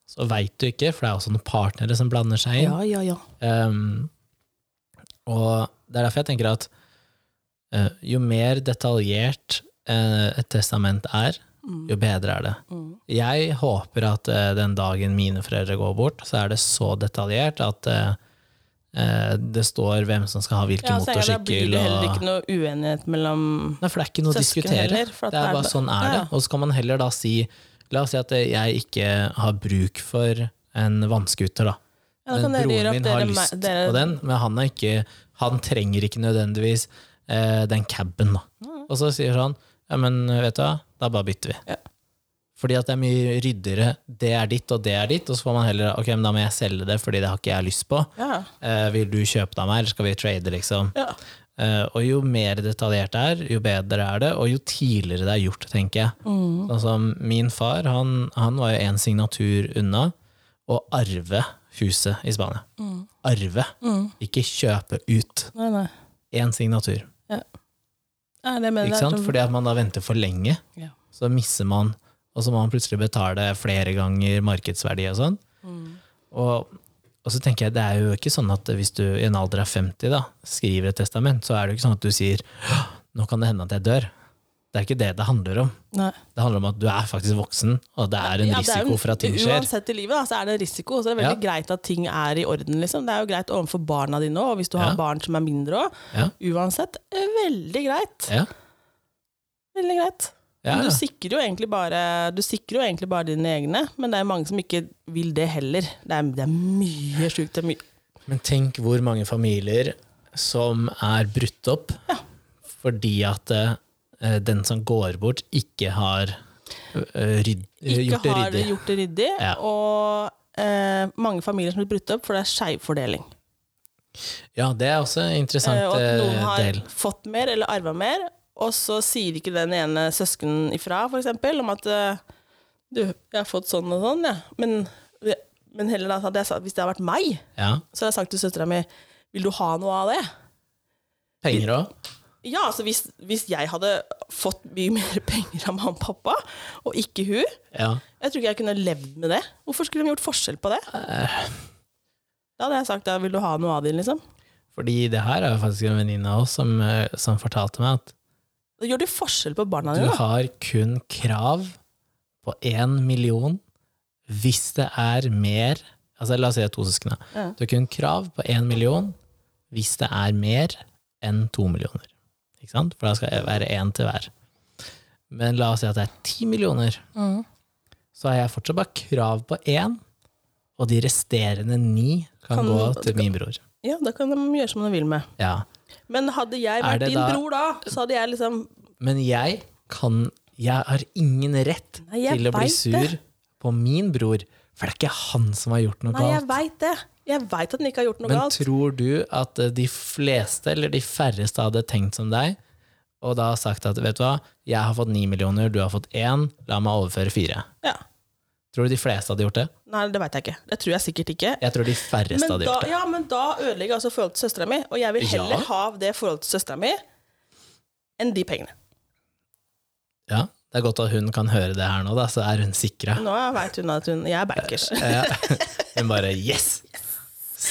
A: så veit du ikke, for det er også noen partnere som blander seg inn.
B: ja, ja.
A: Ehm, Og det er derfor jeg tenker at eh, jo mer detaljert eh, et testament er,
B: Mm.
A: jo bedre er det. Jeg håper at eh, den dagen mine foreldre går bort, så er det så detaljert at eh, eh, det står hvem som skal ha hvilken
B: Ja, så jeg, da blir
A: motorsykkel.
B: det heller
A: og-
B: ikke noe uenighet mellom
A: Nei, for det er ikke noe å
B: Søsken
A: diskutere.
B: heller, for at
A: det er
B: det er
A: bare
B: det-
A: sånn er
B: Ja,
A: det.
B: ja.
A: Og så kan man heller da si La oss si at jeg ikke har bruk for en vannskuter, da.
B: Ja, da kan
A: Men
B: dere
A: broren
B: gjøre
A: min
B: opp
A: har
B: dere
A: lyst
B: me- dere-
A: på den, men han, er ikke, han trenger ikke nødvendigvis eh, den caben, da. Og så sier han ja, men vet du hva, da bare bytter vi.
B: Mm. Ja.
A: Fordi at det er mye ryddigere. Det er ditt, og det er ditt. Og så får man heller ok, men da må jeg selge det, fordi det har ikke jeg lyst på.
B: Ja.
A: Eh, vil du kjøpe det av meg, eller skal vi trade, liksom?
B: ja.
A: Eh, og jo mer detaljert det er, jo bedre er det, og jo tidligere det er gjort, tenker jeg.
B: Mm,
A: Sånn som min far, han, han var jo én signatur unna å arve huset i Spania. Arve, ikke kjøpe ut.
B: mm, Nei, nei.
A: Én signatur,
B: Nei, det mener jeg
A: ikke
B: er
A: sant?
B: sånn-
A: Fordi at man da venter for lenge,
B: Ja.
A: så misser man, og så må man plutselig betale flere ganger markedsverdi og sånn.
B: Mm.
A: Og, og så tenker jeg, det er jo ikke sånn at hvis du i en alder av 50 da, skriver et testament, så er det jo ikke sånn at du sier «Åh, nå kan det hende at jeg dør. Det er ikke det det handler om.
B: Nei.
A: Det handler om at du er faktisk voksen, og det er en
B: Ja, det er jo
A: risiko for at ting skjer.
B: Uansett i livet da, så er det en risiko, så det er veldig greit at ting er i orden. Liksom. Det er jo greit overfor barna dine òg, hvis du
A: Ja.
B: har barn som er mindre òg.
A: Ja.
B: Uansett, eh, veldig greit.
A: Ja,
B: Veldig greit.
A: ja,
B: Men Du,
A: ja.
B: sikrer jo egentlig bare, du sikrer jo egentlig bare dine egne, men det er jo mange som ikke vil det heller. Det er, det er mye sjukt. Det er mye.
A: Men tenk hvor mange familier som er brutt opp fordi at eh, den som går bort, ikke har eh, rydd,
B: Ikke
A: gjort det
B: har
A: ryddig.
B: gjort det ryddig,
A: Ja.
B: og eh, mange familier som blir brutt opp, for det er skjevfordeling.
A: Ja, det er også en interessant
B: Eh, og at noen
A: eh,
B: har
A: del.
B: fått mer eller arva mer, og så sier ikke den ene søskenen ifra, for eksempel, om at eh, du, jeg har fått sånn og sånn, ja. men, men heller da, hadde jeg sagt, hvis det hadde vært meg,
A: Ja,
B: så hadde jeg sagt til søstera mi, vil du ha noe av det?
A: Penger òg.
B: Ja, altså hvis, hvis jeg hadde fått mye mer penger av mamma og pappa, og ikke hun, jeg
A: Ja.
B: tror ikke jeg kunne levd med det. Hvorfor skulle de gjort forskjell på det? Da hadde jeg sagt, da vil du ha noe av din, liksom.
A: Fordi det her er jo faktisk en venninne av oss som, eh, som fortalte meg at
B: Da gjør du forskjell på barna
A: du
B: dine, da.
A: har kun krav på én million hvis det er mer Altså la oss si det er to søsken. da.
B: Ja.
A: Du har kun krav på én million hvis det er mer enn to millioner. Ikke sant? For da skal det være én til hver. Men la oss si at det er ti millioner. Så har jeg fortsatt bare krav på én, og de resterende ni kan,
B: Kan-
A: gå til min bror.
B: Ja, da kan de gjøre som de vil med.
A: Ja.
B: Men hadde jeg
A: Er
B: vært
A: det
B: din
A: da-
B: bror da, så hadde jeg liksom
A: Men jeg kan Jeg har ingen rett
B: Nei, jeg
A: til å bli
B: vet
A: sur
B: det.
A: på min bror, for det er ikke han som har gjort noe
B: Nei, jeg
A: galt.
B: veit det. Jeg veit at den ikke har gjort noe
A: Men
B: galt.
A: tror du at eh, de fleste, eller de færreste, hadde tenkt som deg, og da sagt at vet du hva, jeg har fått ni millioner, du har fått én, la meg overføre fire.
B: Ja.
A: Tror du de fleste hadde gjort det?
B: Nei, det veit jeg ikke. Det tror jeg sikkert ikke.
A: Jeg tror de færreste
B: Men
A: hadde
B: da,
A: gjort det.
B: ja, men da ødelegger jeg altså forholdet til søstera mi, og jeg vil heller
A: Ja.
B: ha det forholdet til søstera mi enn de pengene.
A: Ja, det er godt at hun kan høre det her nå, da, så er hun sikra.
B: Nå veit hun at hun Jeg er bankers.
A: Ja. Hun bare yes!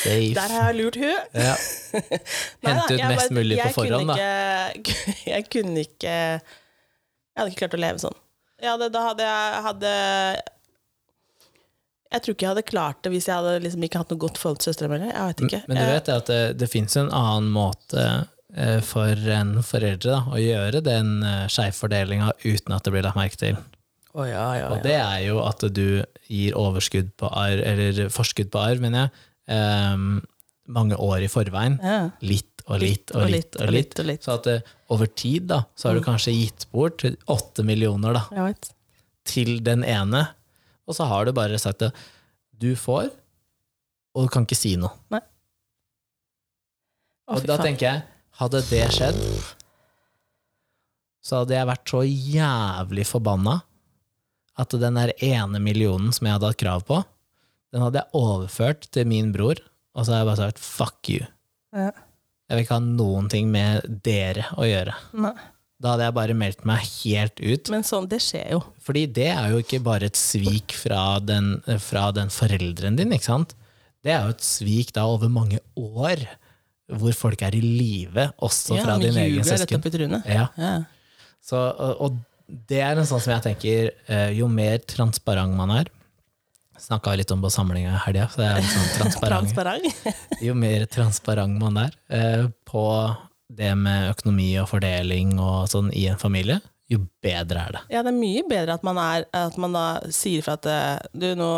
B: Der
A: Safe.
B: har jeg lurt hun.
A: Ja.
B: Nei da,
A: Hente ut
B: jeg
A: mest
B: bare-
A: mulig på
B: jeg kunne
A: forhånd, da.
B: ikke- Jeg kunne ikke Jeg hadde ikke klart å leve sånn. Jeg hadde, da hadde jeg hadde Jeg tror ikke jeg hadde klart det hvis jeg hadde liksom ikke hatt noe godt forhold til søstera mi. Jeg vet ikke.
A: Mm, Men du vet det at det, det fins en annen måte eh, for en foreldre da, å gjøre den eh, skjevfordelinga uten at det blir lagt merke til.
B: Eh, å ja, ja,
A: Og
B: ja.
A: det er jo at du gir overskudd på arv, eller forskudd på arv, mener jeg, ehm, mange år i forveien.
B: ja.
A: Litt og litt og litt og litt.
B: og litt.
A: Så at eh, over tid da, så har du kanskje gitt bort åtte millioner da,
B: Jeg vet.
A: til den ene, og så har du bare sagt det. Du får, og du kan ikke si noe.
B: Å,
A: Og
B: fy
A: da
B: faen.
A: tenker jeg, hadde det skjedd, så hadde jeg vært så jævlig forbanna at den der ene millionen som jeg hadde hatt krav på, den hadde jeg overført til min bror, og så hadde jeg bare sagt fuck you.
B: Ja.
A: Jeg vil ikke ha noen ting med dere å gjøre.
B: Nei.
A: Da hadde jeg bare meldt meg helt ut.
B: Men sånn, det skjer jo.
A: Fordi det er jo ikke bare et svik fra den, fra den forelderen din, ikke sant? Det er jo et svik da over mange år hvor folk er i live, også
B: Ja,
A: Sånn fra
B: med
A: din egen
B: jubel Rett
A: søsken.
B: opp i trynet.
A: Ja.
B: Ja.
A: Så, og, og det er en sånn som jeg tenker, eh, jo mer transparent man er Snakka litt om på samlinga i helga, så jeg er litt sånn transparent.
B: Transparent.
A: jo mer transparent man er eh, på det med økonomi og fordeling og sånn i en familie, jo bedre er det.
B: Ja, det er mye bedre at man, er, at man da sier fra at eh, du, nå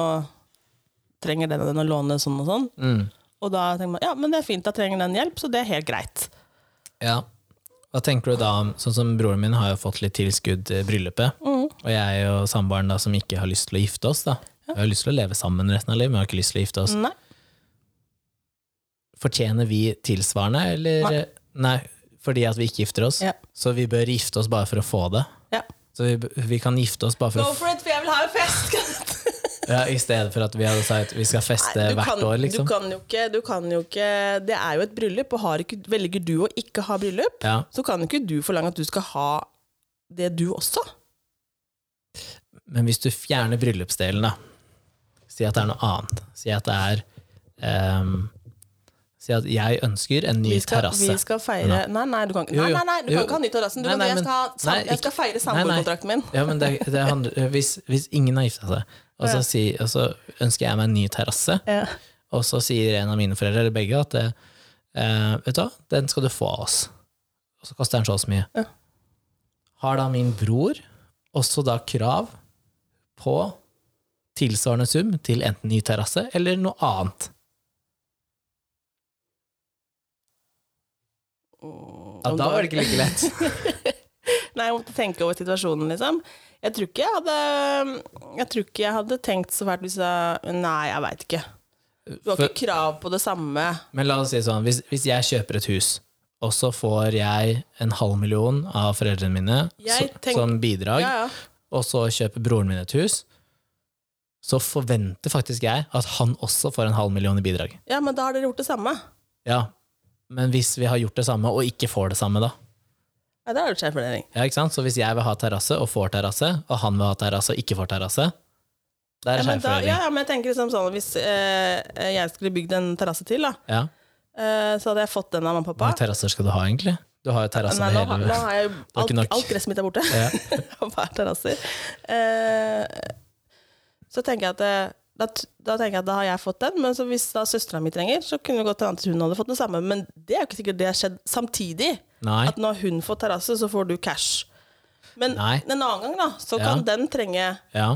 B: trenger den og den å låne sånn og sånn.
A: Mm.
B: Og da tenker man ja, men det er fint, da trenger den hjelp, så det er helt greit.
A: Ja. Hva tenker du da om Sånn som broren min har jo fått litt tilskudd til bryllupet,
B: Mm.
A: og jeg og samboeren da som ikke har lyst til å gifte oss, da. Vi har lyst til å leve sammen resten av livet, men vi har ikke lyst til å gifte oss.
B: Nei.
A: Fortjener vi tilsvarende, eller Nei.
B: Nei.
A: fordi at vi ikke gifter oss.
B: Ja.
A: Så vi bør gifte oss bare for å få det.
B: Ja.
A: Så vi, b- vi kan gifte oss bare for,
B: Go
A: å f-
B: for it, for jeg vil ha en fest!
A: ja, I stedet for at vi hadde sagt vi skal feste
B: Nei, du
A: hvert
B: kan-
A: år, liksom.
B: Du kan, jo ikke, du kan jo ikke Det er jo et bryllup, og har ikke, velger du å ikke ha bryllup,
A: Ja.
B: så kan jo ikke du forlange at du skal ha det du også.
A: Men hvis du fjerner bryllupsdelen, da Si at det er noe annet. Si at det er ehm, Si at jeg ønsker en ny
B: Vi skal, vi
A: terrasse.
B: skal feire Nei, nei, du kan, ikke-
A: Jo,
B: nei,
A: jo.
B: nei, nei, du
A: Jo,
B: kan ikke ha
A: jo.
B: ny terrassen. Du
A: Nei,
B: kan-
A: nei,
B: Jeg
A: men-
B: skal, ha-
A: nei,
B: jeg skal
A: ikke-
B: feire
A: nei, nei.
B: samboerkontrakten min.
A: Ja, men det, det handler, hvis, hvis ingen har gifta seg, og så,
B: Ja.
A: si, og så ønsker jeg meg en ny terrasse,
B: Ja.
A: og så sier en av mine foreldre, eller begge, at eh, vet du hva, den skal du få av oss. Og så koster den så og så mye.
B: Ja.
A: Har da min bror også da krav på tilsvarende sum til enten ny terrasse eller noe annet? Ja, da
B: Om det
A: var det ikke like lett.
B: Nei, jeg måtte tenke over situasjonen, liksom. Jeg tror ikke jeg hadde, jeg tror ikke jeg hadde tenkt så fælt hvis jeg Nei, jeg veit ikke. Du har
A: For-
B: ikke krav på det samme.
A: Men la oss si det sånn, hvis, hvis jeg kjøper et hus, og så får jeg en halv million av foreldrene mine
B: Jeg
A: så,
B: tenk-
A: som bidrag,
B: Ja, ja.
A: og så kjøper broren min et hus, så forventer faktisk jeg at han også får en halv million i bidrag.
B: ja, men da har dere gjort det samme.
A: Ja, men hvis vi har gjort det samme og ikke får det samme, da?
B: Nei, det er jo skjevfordeling.
A: Ja, ikke sant? Så hvis jeg vil ha terrasse og får terrasse, og han vil ha terrasse og ikke får terrasse, det
B: Ja,
A: er
B: men da-
A: skjevfordeling.
B: ja, ja, men jeg tenker liksom sånn hvis eh, jeg skulle bygd en terrasse til, da,
A: Ja.
B: eh, så hadde jeg fått den av mamma og
A: Hvor mange
B: pappa.
A: terrasser skal du ha, egentlig? Du har jo terrassen
B: Nei, nå, har-
A: hele
B: nå har jeg jo
A: var ikke
B: alt,
A: nok.
B: alt gresset mitt er borte.
A: ja.
B: på hver terrasser. Eh, så tenker jeg at eh, da, t- da tenker jeg at da har jeg fått den, men så hvis da søstera mi trenger, så kunne det gått an at hun hadde fått den samme. Men det er jo ikke sikkert det har skjedd samtidig.
A: Nei.
B: At når hun får terrasse, så får du cash. Men
A: Nei.
B: en annen gang, da, så
A: Ja.
B: kan den trenge
A: Ja.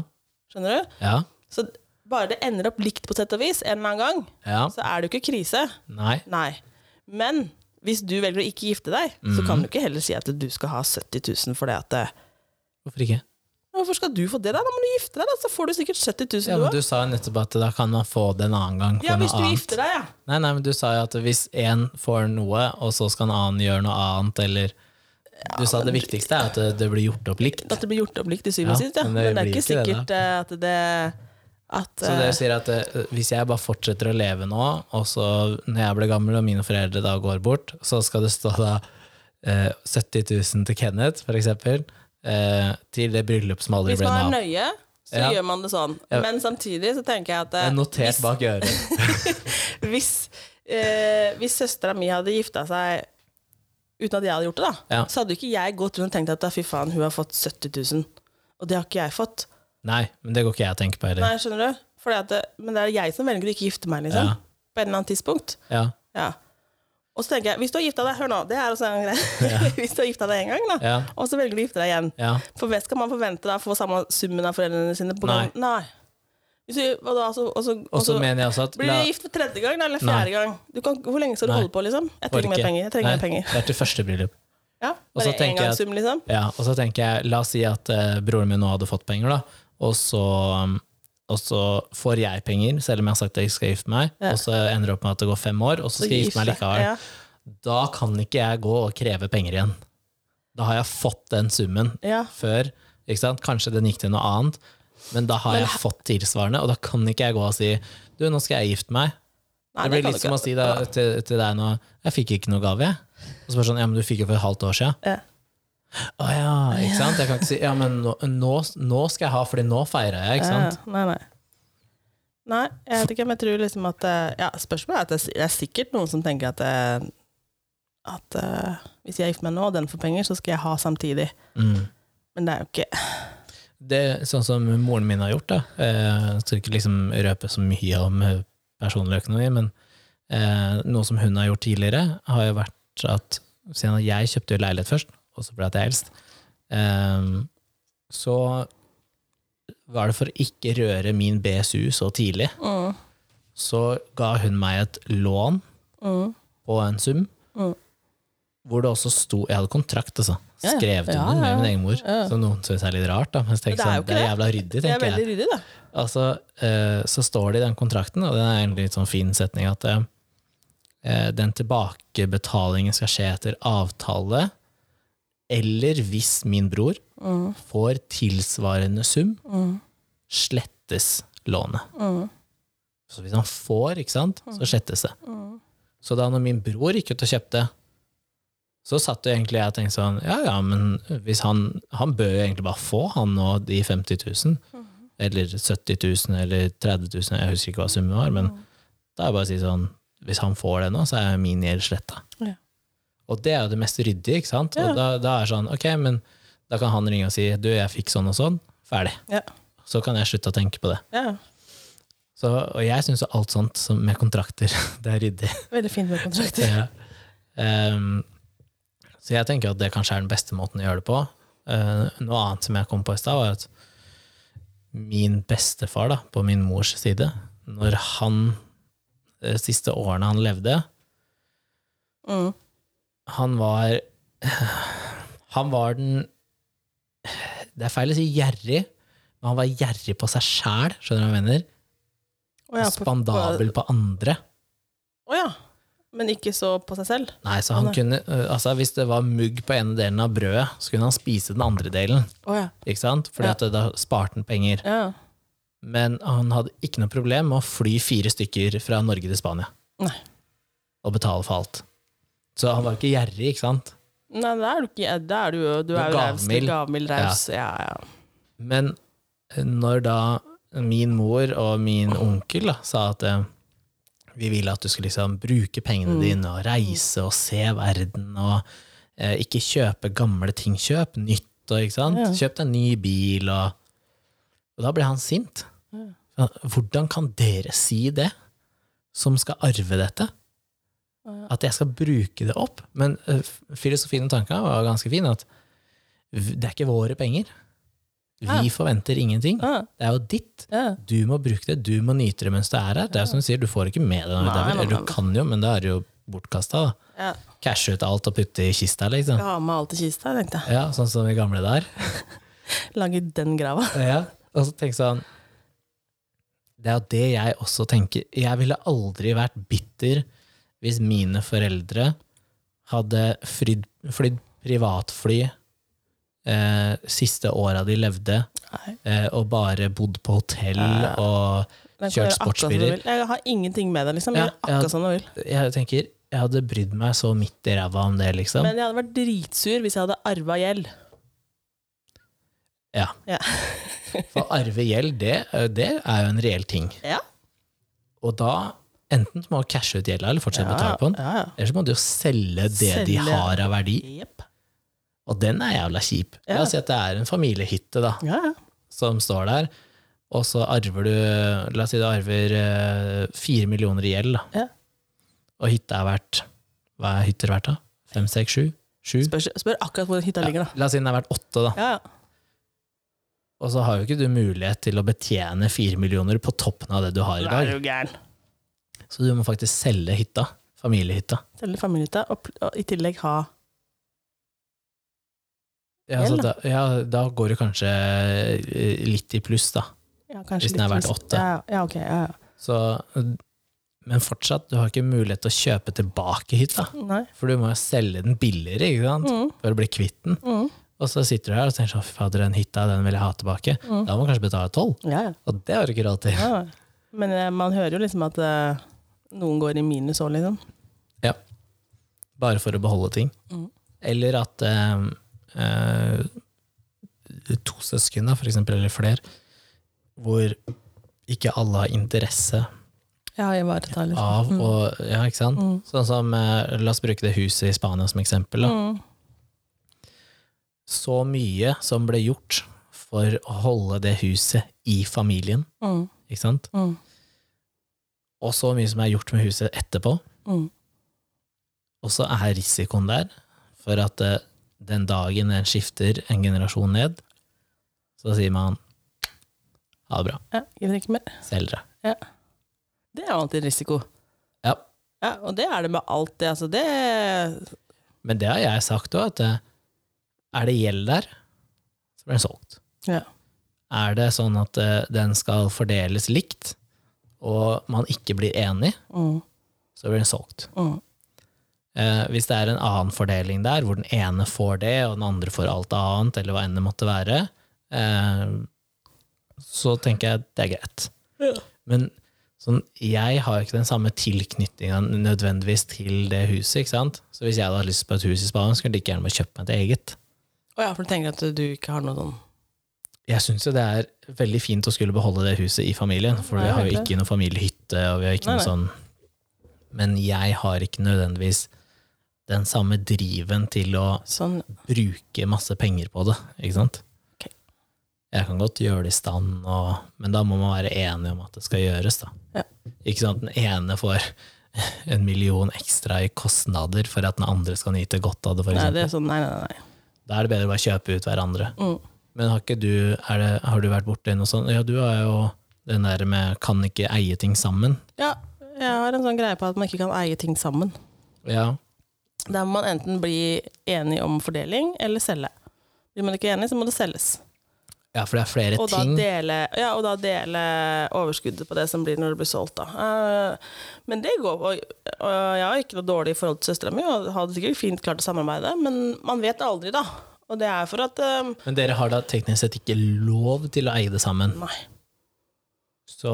B: Skjønner du?
A: Ja.
B: Så bare det ender opp likt på sett og vis en eller annen gang,
A: Ja.
B: så er det jo ikke krise.
A: Nei.
B: Nei. Men hvis du velger å ikke gifte deg, så
A: Mhm.
B: kan du ikke heller si at du skal ha 70 000 for det at eh,
A: Hvorfor ikke?
B: men Hvorfor skal du få det, da? Da må du gifte deg, da, så får du sikkert 70 000,
A: Ja, men
B: du òg.
A: du sa jo nettopp at da kan man få det en annen gang. for
B: Ja, hvis
A: noe
B: du
A: annet.
B: gifter deg, ja.
A: Nei, nei, men du sa jo at hvis én får noe, og så skal en annen gjøre noe annet, eller Du sa det viktigste er at det, det blir gjort opp likt.
B: At det blir gjort opp likt til syvende og
A: Ja,
B: sist, ja.
A: men
B: Men
A: det
B: det, er
A: blir
B: ikke
A: ikke det,
B: sikkert eh, at det at,
A: Så
B: eh,
A: dere sier at eh, hvis jeg bare fortsetter å leve nå, og så når jeg blir gammel og mine foreldre da går bort, så skal det stå da eh, 70 000 til Kenneth, for eksempel, eh, til det bryllup som aldri
B: Hvis
A: ble
B: man
A: noe
B: er
A: av.
B: nøye, så
A: Ja.
B: gjør man det sånn.
A: Ja.
B: Men samtidig så tenker jeg at
A: Det
B: eh,
A: er notert bak øret.
B: hvis, hvis, eh, hvis søstera mi hadde gifta seg uten at jeg hadde gjort det, da,
A: Ja.
B: så hadde jo ikke jeg gått rundt og tenkt at fy faen, hun har fått 70 000. Og det har ikke jeg fått.
A: Nei, men det går ikke jeg og tenker på heller.
B: Nei, skjønner du? Fordi at, det- men det er jeg som velger å ikke gifte meg, liksom.
A: Ja.
B: På et eller annet tidspunkt.
A: Ja,
B: Ja. Og så tenker jeg, hvis du har gifta deg Hør nå, det er også en greie. hvis du har gifta deg en gang, da,
A: Ja.
B: og så velger du å gifte deg igjen,
A: ja,
B: for hvem skal man forvente da å få samme summen av foreldrene sine? På
A: Nei.
B: grunn- Nei. Hvis du, og da, så, og så, og
A: Og så
B: så
A: mener jeg også at
B: blir
A: la-
B: du gift for tredje gang da, eller fjerde gang? Du kan, hvor lenge skal du
A: Nei.
B: holde på, liksom? Jeg trenger
A: orker.
B: mer penger. jeg trenger
A: Nei,
B: mer penger.
A: Det er til første bryllup.
B: Ja,
A: Og
B: Bare
A: så tenker jeg at-
B: engangssum, liksom.
A: Ja, og så tenker jeg, la oss si at eh, broren min nå hadde fått penger, da, og så, um, og så får jeg penger, selv om jeg har sagt at jeg skal gifte meg,
B: Ja.
A: og så ender det opp med at det går fem år, og så skal jeg gifte meg likevel.
B: Ja.
A: Da kan ikke jeg gå og kreve penger igjen. Da har jeg fått den summen
B: Ja.
A: før, ikke sant? Kanskje den gikk til noe annet, men da har jeg fått tilsvarende, og da kan ikke jeg gå og si, du, nå skal jeg gifte meg.
B: Nei,
A: det blir
B: kan
A: litt
B: du
A: som å
B: ikke.
A: si da, til, til deg nå, jeg fikk ikke noe gave, jeg. Og så bare sånn, ja, men du fikk jo for et halvt år siden.
B: Ja.
A: Å ja, ikke sant? Jeg kan ikke si ja, men nå, nå, nå skal jeg ha, fordi nå feirer jeg, ikke sant?
B: Ja, ja. Nei, nei. Nei, jeg vet ikke, men jeg tror liksom at eh, ja, Spørsmålet er at det er s- det er sikkert noen som tenker at eh, at eh, hvis jeg gifter meg nå, og den får penger, så skal jeg ha samtidig.
A: Mm.
B: Men det er jo ikke
A: Det er sånn som moren min har gjort, da. Eh, jeg skal ikke liksom røpe så mye om eh, personlig økonomi, men eh, noe som hun har gjort tidligere, har jo vært at siden jeg kjøpte jo leilighet først, og så ble jeg eldst, eh, så var det for å ikke røre min BSU så tidlig,
B: mm,
A: så ga hun meg et lån
B: mm,
A: på en sum,
B: Mm.
A: hvor det også sto Jeg hadde kontrakt, altså.
B: Ja, ja.
A: Skrevet
B: Ja,
A: under
B: ja, ja.
A: med min egen mor.
B: Ja.
A: Som noen syns er litt rart, da. Men jeg
B: Men det
A: tenker
B: er jo
A: sånn,
B: ikke
A: det er jævla ryddig,
B: Det er
A: tenker jeg.
B: veldig ryddig, da.
A: Altså, eh, så står det i den kontrakten, og det er en litt sånn fin setning, at eh, den tilbakebetalingen skal skje etter avtale, eller hvis min bror
B: Mm,
A: får tilsvarende sum,
B: mm,
A: slettes lånet.
B: mm,
A: Så hvis han får, ikke sant, så slettes det.
B: mm.
A: Så da når min bror gikk ut og kjøpte, så satt jo egentlig jeg og tenkte sånn, ja ja, men hvis han, han bør jo egentlig bare få han nå de 50 000,
B: Mhm.
A: eller 70 000, eller 30 000, jeg husker ikke hva summen var,
B: Mhm.
A: men da er det bare å si sånn, hvis han får det nå, så er min gjeld sletta.
B: Ja.
A: Og det er jo det mest ryddige, ikke sant?
B: Ja.
A: Og da, da er det sånn, ok, men da kan han ringe og si, du, jeg fikk sånn og sånn, ferdig.
B: Ja.
A: Så kan jeg slutte å tenke på det.
B: Ja,
A: Så, og jeg synes jo alt sånt som med kontrakter, det er ryddig.
B: veldig fint med kontrakter.
A: Ja. Ehm, så jeg tenker at det kanskje er den beste måten å gjøre det på. Eh, noe annet som jeg kom på i stad, var at min bestefar da, på min mors side, når han de siste årene han levde,
B: Mm.
A: han var Han var den Det er feil å si gjerrig, men han var gjerrig på seg sjæl, skjønner du hva jeg mener?
B: Å ja,
A: og
B: på-
A: spandabel på andre.
B: Å ja. Men ikke så på seg selv.
A: Nei, så han
B: Nei.
A: kunne, øh, altså Hvis det var mugg på ene delen av brødet, så kunne han spise den andre delen.
B: Å ja.
A: ikke sant? Fordi
B: Ja.
A: at da sparte han penger.
B: ja.
A: Men han hadde ikke noe problem med å fly fire stykker fra Norge til Spania
B: Nei.
A: og betale for alt. Så han var ikke gjerrig, ikke sant?
B: Nei, da er du ikke Da er du jo
A: Du
B: Du er
A: er
B: jo raus.
A: gavmild.
B: Gavmild raus. Ja, ja.
A: Men eh, når da min mor og min onkel da, sa at eh, vi ville at du skulle liksom bruke
B: Mm.
A: pengene dine og reise og se verden og eh, ikke kjøpe gamle ting, kjøp nytt og ikke sant?
B: Ja.
A: Kjøp deg en ny bil og Og da ble han sint.
B: Ja.
A: Hvordan kan dere si det, som skal arve dette?
B: Ja.
A: At jeg skal bruke det opp? Men eh, filosofien og tanken var ganske fin, at v- det er ikke våre penger.
B: Ja.
A: Vi forventer ingenting.
B: Ja,
A: Det er jo ditt.
B: ja.
A: Du må bruke det, du må nyte det mens du er her. Det er jo som du sier, du får ikke med deg noe
B: Nei,
A: utover.
B: nei,
A: Eller
B: nei.
A: Du kan jo, men da er det jo bortkasta.
B: ja.
A: Cashe ut alt og putte i kista, liksom.
B: Jeg har med alt i kista, tenkte jeg.
A: Ja, sånn som de gamle der.
B: Lage den grava.
A: Ja. Og så tenk sånn Det er jo det jeg også tenker. Jeg ville aldri vært bitter hvis mine foreldre hadde flydd, flydd privatfly eh, siste åra de levde,
B: Nei.
A: eh, og bare bodd på hotell
B: Ja.
A: og
B: Den kan
A: Kjørt
B: gjøre akkurat som du
A: sportsbiler.
B: vil. Jeg har ingenting med den, liksom. Jeg
A: Ja,
B: gjør akkurat
A: ja.
B: som du vil.
A: jeg tenker, jeg hadde brydd meg så midt i ræva om det, liksom.
B: Men jeg hadde vært dritsur hvis jeg hadde arva gjeld.
A: ja.
B: Ja.
A: For arve gjeld, det, eh, det er jo en reell ting.
B: Ja.
A: Og da, enten så må du cashe ut gjelda, eller fortsette å betale på den,
B: ja, ja.
A: eller så må du jo selge det de
B: Selge.
A: har av verdi,
B: Jepp.
A: og den er jævla kjip.
B: Ja.
A: La oss si at det er en familiehytte, da,
B: Ja, ja.
A: som står der, og så arver du La oss si du arver eh, fire millioner i gjeld, da.
B: Ja.
A: Og hytta er verdt Hva er hytter verdt, da? Fem, seks, sju? Sju?
B: Spør, spør akkurat hvor hytta ligger, da.
A: La oss si den er verdt åtte, da.
B: Ja, ja.
A: Og så har jo ikke du mulighet til å betjene fire millioner på toppen av det du har i
B: Da
A: dag.
B: er du gæren.
A: Så du må faktisk selge hytta. Familiehytta.
B: Selge familiehytta, og, pl- og i tillegg ha
A: Ja, så
B: Gjeld,
A: da, ja, da går du kanskje eh, litt i pluss, da.
B: ja, kanskje
A: Hvis den er
B: litt-
A: verdt åtte.
B: Ja, ja, ok. Ja, ja.
A: Så, men fortsatt, du har ikke mulighet til å kjøpe tilbake hytta.
B: Nei.
A: For du må jo selge den billigere ikke sant?
B: Mm,
A: for å bli kvitt den.
B: mm,
A: Og så sitter du her og tenker sånn, fy fader, den hytta den vil jeg ha tilbake.
B: mm.
A: Da må du kanskje betale tolv,
B: Ja, ja.
A: og det har du ikke råd til.
B: ja. ja. Men eh, man hører jo liksom at eh, noen går i minus òg, liksom.
A: bare for å beholde ting.
B: Mm.
A: Eller at eh, eh, to søsken, da, for eksempel, eller flere, hvor ikke alle har interesse
B: Ja, ivareta, liksom.
A: av og Ja, ikke
B: Mm.
A: sant? Sånn som eh, La oss bruke det huset i Spania som eksempel. Da.
B: Mm.
A: Så mye som ble gjort for å holde det huset i familien,
B: Mm.
A: ikke sant?
B: Mm.
A: Og så mye som er gjort med huset etterpå.
B: Mm.
A: Og så er risikoen der for at eh, den dagen en skifter en generasjon ned, så sier man ha det bra,
B: Ja, gidder ikke mer.
A: selg dere.
B: Det er jo alltid risiko.
A: Ja.
B: Ja, og det er det med alt det. Altså, det
A: Men det har jeg sagt òg, at eh, er det gjeld der, så blir den solgt.
B: ja.
A: Er det sånn at eh, den skal fordeles likt, og man ikke blir enig,
B: mm.
A: så blir den solgt.
B: Mm.
A: Eh, hvis det er en annen fordeling der, hvor den ene får det, og den andre får alt annet, eller hva enn det måtte være, eh, så tenker jeg at det er greit.
B: Ja.
A: Men sånn, jeg har ikke den samme tilknytninga nødvendigvis til det huset. ikke sant? Så hvis jeg hadde hatt lyst på et hus i Spania, så kunne jeg like gjerne bare kjøpt meg et eget.
B: Å ja, for du tenker at du ikke har noe sånn
A: Jeg syns jo det er veldig fint å skulle beholde det huset i familien, for
B: Nei,
A: vi har jo
B: jeg vet
A: ikke noen familiehytte, og vi har ikke
B: Nei,
A: noe
B: nei.
A: sånn Men jeg har ikke nødvendigvis den samme driven til å
B: Sånn
A: bruke masse penger på det, ikke sant?
B: Ok.
A: Jeg kan godt gjøre det i stand, og, men da må man være enig om at det skal gjøres, da.
B: Ja.
A: Ikke sant? Den ene får en million ekstra i kostnader for at den andre skal nyte godt av det, for
B: Nei,
A: eksempel.
B: det er sånn, nei, nei, nei.
A: Da er det bedre å bare kjøpe ut hverandre.
B: Mm.
A: Men har ikke du, er det, har du vært borti noe sånt? Ja, du har jo den der med kan ikke eie ting sammen.
B: Ja, jeg har en sånn greie på at man ikke kan eie ting sammen.
A: Ja,
B: Der må man enten bli enig om fordeling, eller selge. Blir man ikke enig, så må det selges.
A: ja for det er flere
B: Og da,
A: ting.
B: dele, ja, og da dele overskuddet på det som blir når det blir solgt, da. Eh, men det går og, og jeg har ikke noe dårlig forhold til søstera mi, og hadde sikkert fint klart å samarbeide, men man vet aldri, da. Og det er for at eh,
A: Men dere har da teknisk sett ikke lov til å eie det sammen.
B: Nei.
A: Så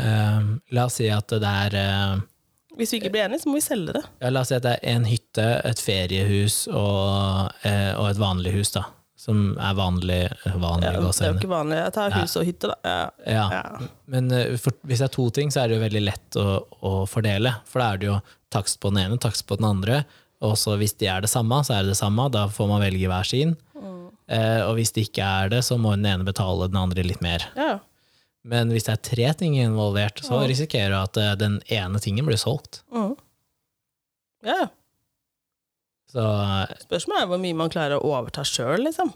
A: eh, la oss si at det er eh,
B: Hvis vi ikke blir enige, så må vi selge det.
A: ja, La oss si at det er en hytte, et feriehus og, eh, og et vanlig hus, da. Som er vanlig, eh, vanlig
B: Ja, det er jo
A: gåsehudet.
B: ikke vanlig. Jeg tar hus og hytte, da.
A: Ja.
B: Ja.
A: Men eh, for, hvis det er to ting, så er det jo veldig lett å, å fordele. For da er det jo takst på den ene, takst på den andre. Og så hvis de er det samme, så er det det samme. Da får man velge hver sin.
B: Mm.
A: Eh, og hvis de ikke er det, så må den ene betale den andre litt mer.
B: Ja. ja.
A: Men hvis det er tre ting involvert, så risikerer du at eh, den ene tingen blir solgt.
B: Mm. Ja, ja.
A: Så
B: Spørsmålet er hvor mye man klarer å overta sjøl, liksom.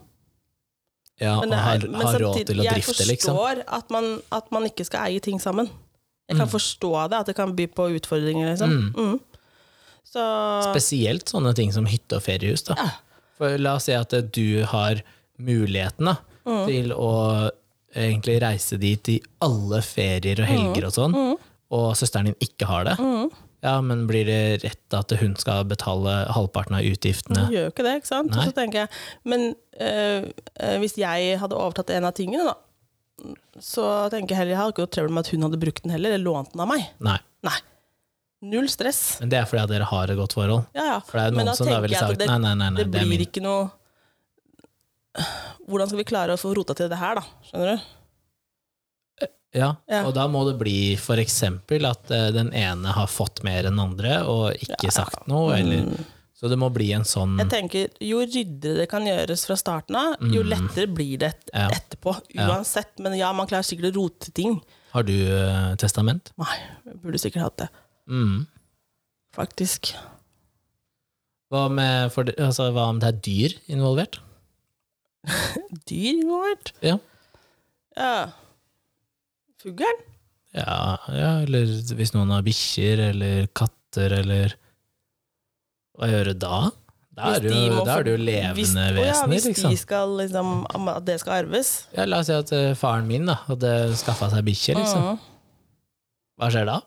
A: ja, og
B: det er-
A: har, har råd
B: samtidig,
A: til å drifte,
B: jeg
A: liksom.
B: forstår at man, at man ikke skal eie ting sammen. Jeg kan forstå det, at det kan by på utfordringer, liksom.
A: Mm.
B: Mm. Så
A: Spesielt sånne ting som hytte og feriehus. Da.
B: Ja.
A: For la oss si at eh, du har muligheten da,
B: Mm.
A: til å egentlig reise dit i alle ferier
B: Mm.
A: og helger og sånn, og søsteren din ikke har det. Ja, men blir det rett at hun skal betale halvparten av utgiftene?
B: man gjør jo ikke det, ikke sant? Og
A: Nei.
B: Så tenker jeg, men øh, øh, hvis jeg hadde overtatt en av tingene, da, så tenker jeg heller jeg hadde ikke noe trøbbel med at hun hadde brukt den heller, eller lånt den av meg.
A: Nei.
B: Nei. Null stress.
A: Men det er fordi at dere har et godt forhold.
B: Ja, ja.
A: For det er jo
B: Men
A: noen som da
B: tenker
A: ville
B: jeg at
A: sagt
B: det-
A: nei, nei, nei, nei
B: det
A: det er
B: blir
A: min.
B: ikke noe Hvordan skal vi klare å få rota til det her, da? Skjønner du?
A: Ja,
B: Ja.
A: og da må det bli for eksempel at eh, den ene har fått mer enn andre og ikke sagt noe, eller Så det må bli en sånn
B: Mm. Jeg tenker, Jo ryddigere det kan gjøres fra starten av, jo lettere blir det et
A: Mm. Ja.
B: etterpå. Uansett. Men ja, man klarer sikkert å rote til ting.
A: Har du eh, testament?
B: Nei, jeg burde sikkert hatt det.
A: Mm.
B: Faktisk.
A: Hva, med, for, altså, hva om det er dyr involvert?
B: Dyr involvert.
A: Ja.
B: Ja. Fuglen?
A: Ja, ja, eller hvis noen har bikkjer eller katter eller Hva gjøre da? Da
B: Hvis
A: er det
B: de
A: jo,
B: må
A: da
B: få-
A: er det jo levende
B: hvis- å ja,
A: vesener,
B: hvis
A: liksom.
B: de skal liksom At det skal arves.
A: Ja, la oss si at eh, faren min da, hadde skaffa seg bikkje, liksom.
B: Mhm.
A: Hva skjer da?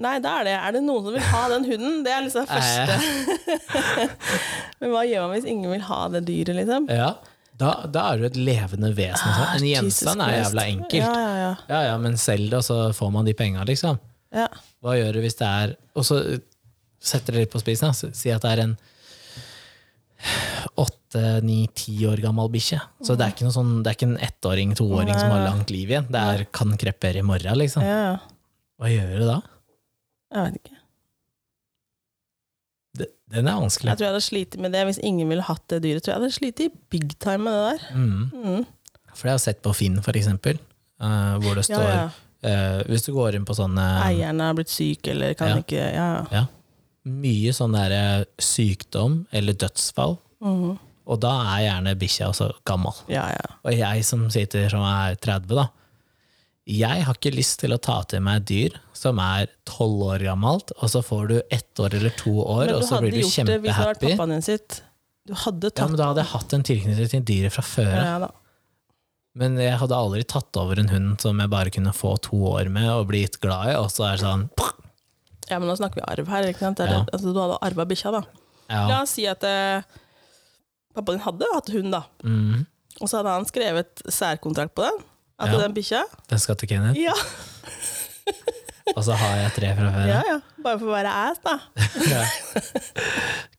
B: Nei, da er det Er det noen som vil ha den hunden? Det er liksom det
A: Eh,
B: første. Men hva gjør man hvis ingen vil ha det dyret, liksom?
A: Ja, da, da er det jo et levende vesen. Sånn. En
B: Ah, Jesus
A: gjenstand er
B: Christ.
A: jævla
B: Ja,
A: enkelt.
B: ja, ja.
A: Ja, ja, men selg det, og så får man de penga, liksom.
B: ja.
A: Hva gjør du hvis det er Og så eh, setter det litt på spissen. da. S- Si at det er en åtte, ni, ti år gammel bikkje. Så det er ikke noe sånn, det er ikke en ettåring, toåring som har langt liv igjen. Det er kan krepper i morgen, liksom.
B: ja, ja.
A: Hva gjør du da?
B: Jeg vet ikke.
A: Det- Den er vanskelig.
B: Jeg tror jeg hadde slitt med det hvis ingen ville hatt det dyret. Tror jeg hadde slitt i big time med det der.
A: Mm.
B: Mm.
A: For jeg har sett på Finn, for eksempel, eh, hvor det
B: Ja,
A: står
B: ja.
A: eh, Hvis du går inn på sånne
B: Eieren er blitt syk eller kan
A: Ja.
B: ikke Ja, ja.
A: Mye sånn der eh, sykdom eller dødsfall,
B: Mhm.
A: og da er gjerne bikkja også gammel.
B: ja, ja.
A: Og jeg som sitter som er 30, da. Jeg har ikke lyst til å ta til meg et dyr som er 12 år gammelt, og så får du ett år eller to år,
B: Men
A: og
B: du
A: så
B: hadde
A: blir du
B: gjort det hvis det hadde vært
A: kjempehappy.
B: pappaen din sitt. Du hadde
A: Ja,
B: tatt
A: men da hadde jeg hatt en tilknytning til dyret fra før av.
B: ja, da.
A: Men jeg hadde aldri tatt over en hund som jeg bare kunne få to år med og blitt glad i, og så er det sånn
B: Ja, men nå snakker vi arv her. ikke sant? Det er
A: Ja.
B: det- altså, du hadde arva bikkja, da. La
A: Ja.
B: oss si at eh, pappaen din hadde hatt hund, da.
A: Mm,
B: Og så hadde han skrevet særkontrakt på den. At
A: Ja.
B: den bikkja
A: den skal til Kenneth,
B: ja,
A: og så har jeg tre fra før
B: ja,
A: av.
B: ja. Bare for å være ass, da.
A: Ja.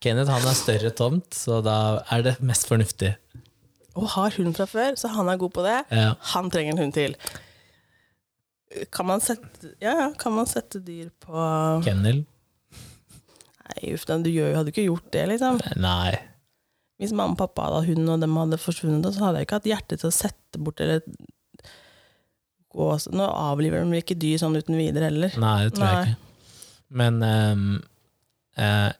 A: Kenneth han er større tomt, så da er det mest fornuftig.
B: Og har hund fra før, så han er god på det.
A: Ja.
B: Han trenger en hund til. Kan man sette, ja, ja, kan man sette dyr på
A: Kennel?
B: Nei, uff, den du gjør, hadde ikke gjort det, liksom.
A: Nei.
B: Hvis mamma og pappa hadde hund, og dem hadde forsvunnet, så hadde jeg ikke hatt hjerte til å sette bort eller gå så- Nå avliver de ikke dyr sånn uten videre heller.
A: Nei, det tror
B: Nei.
A: jeg ikke. Men ehm, eh,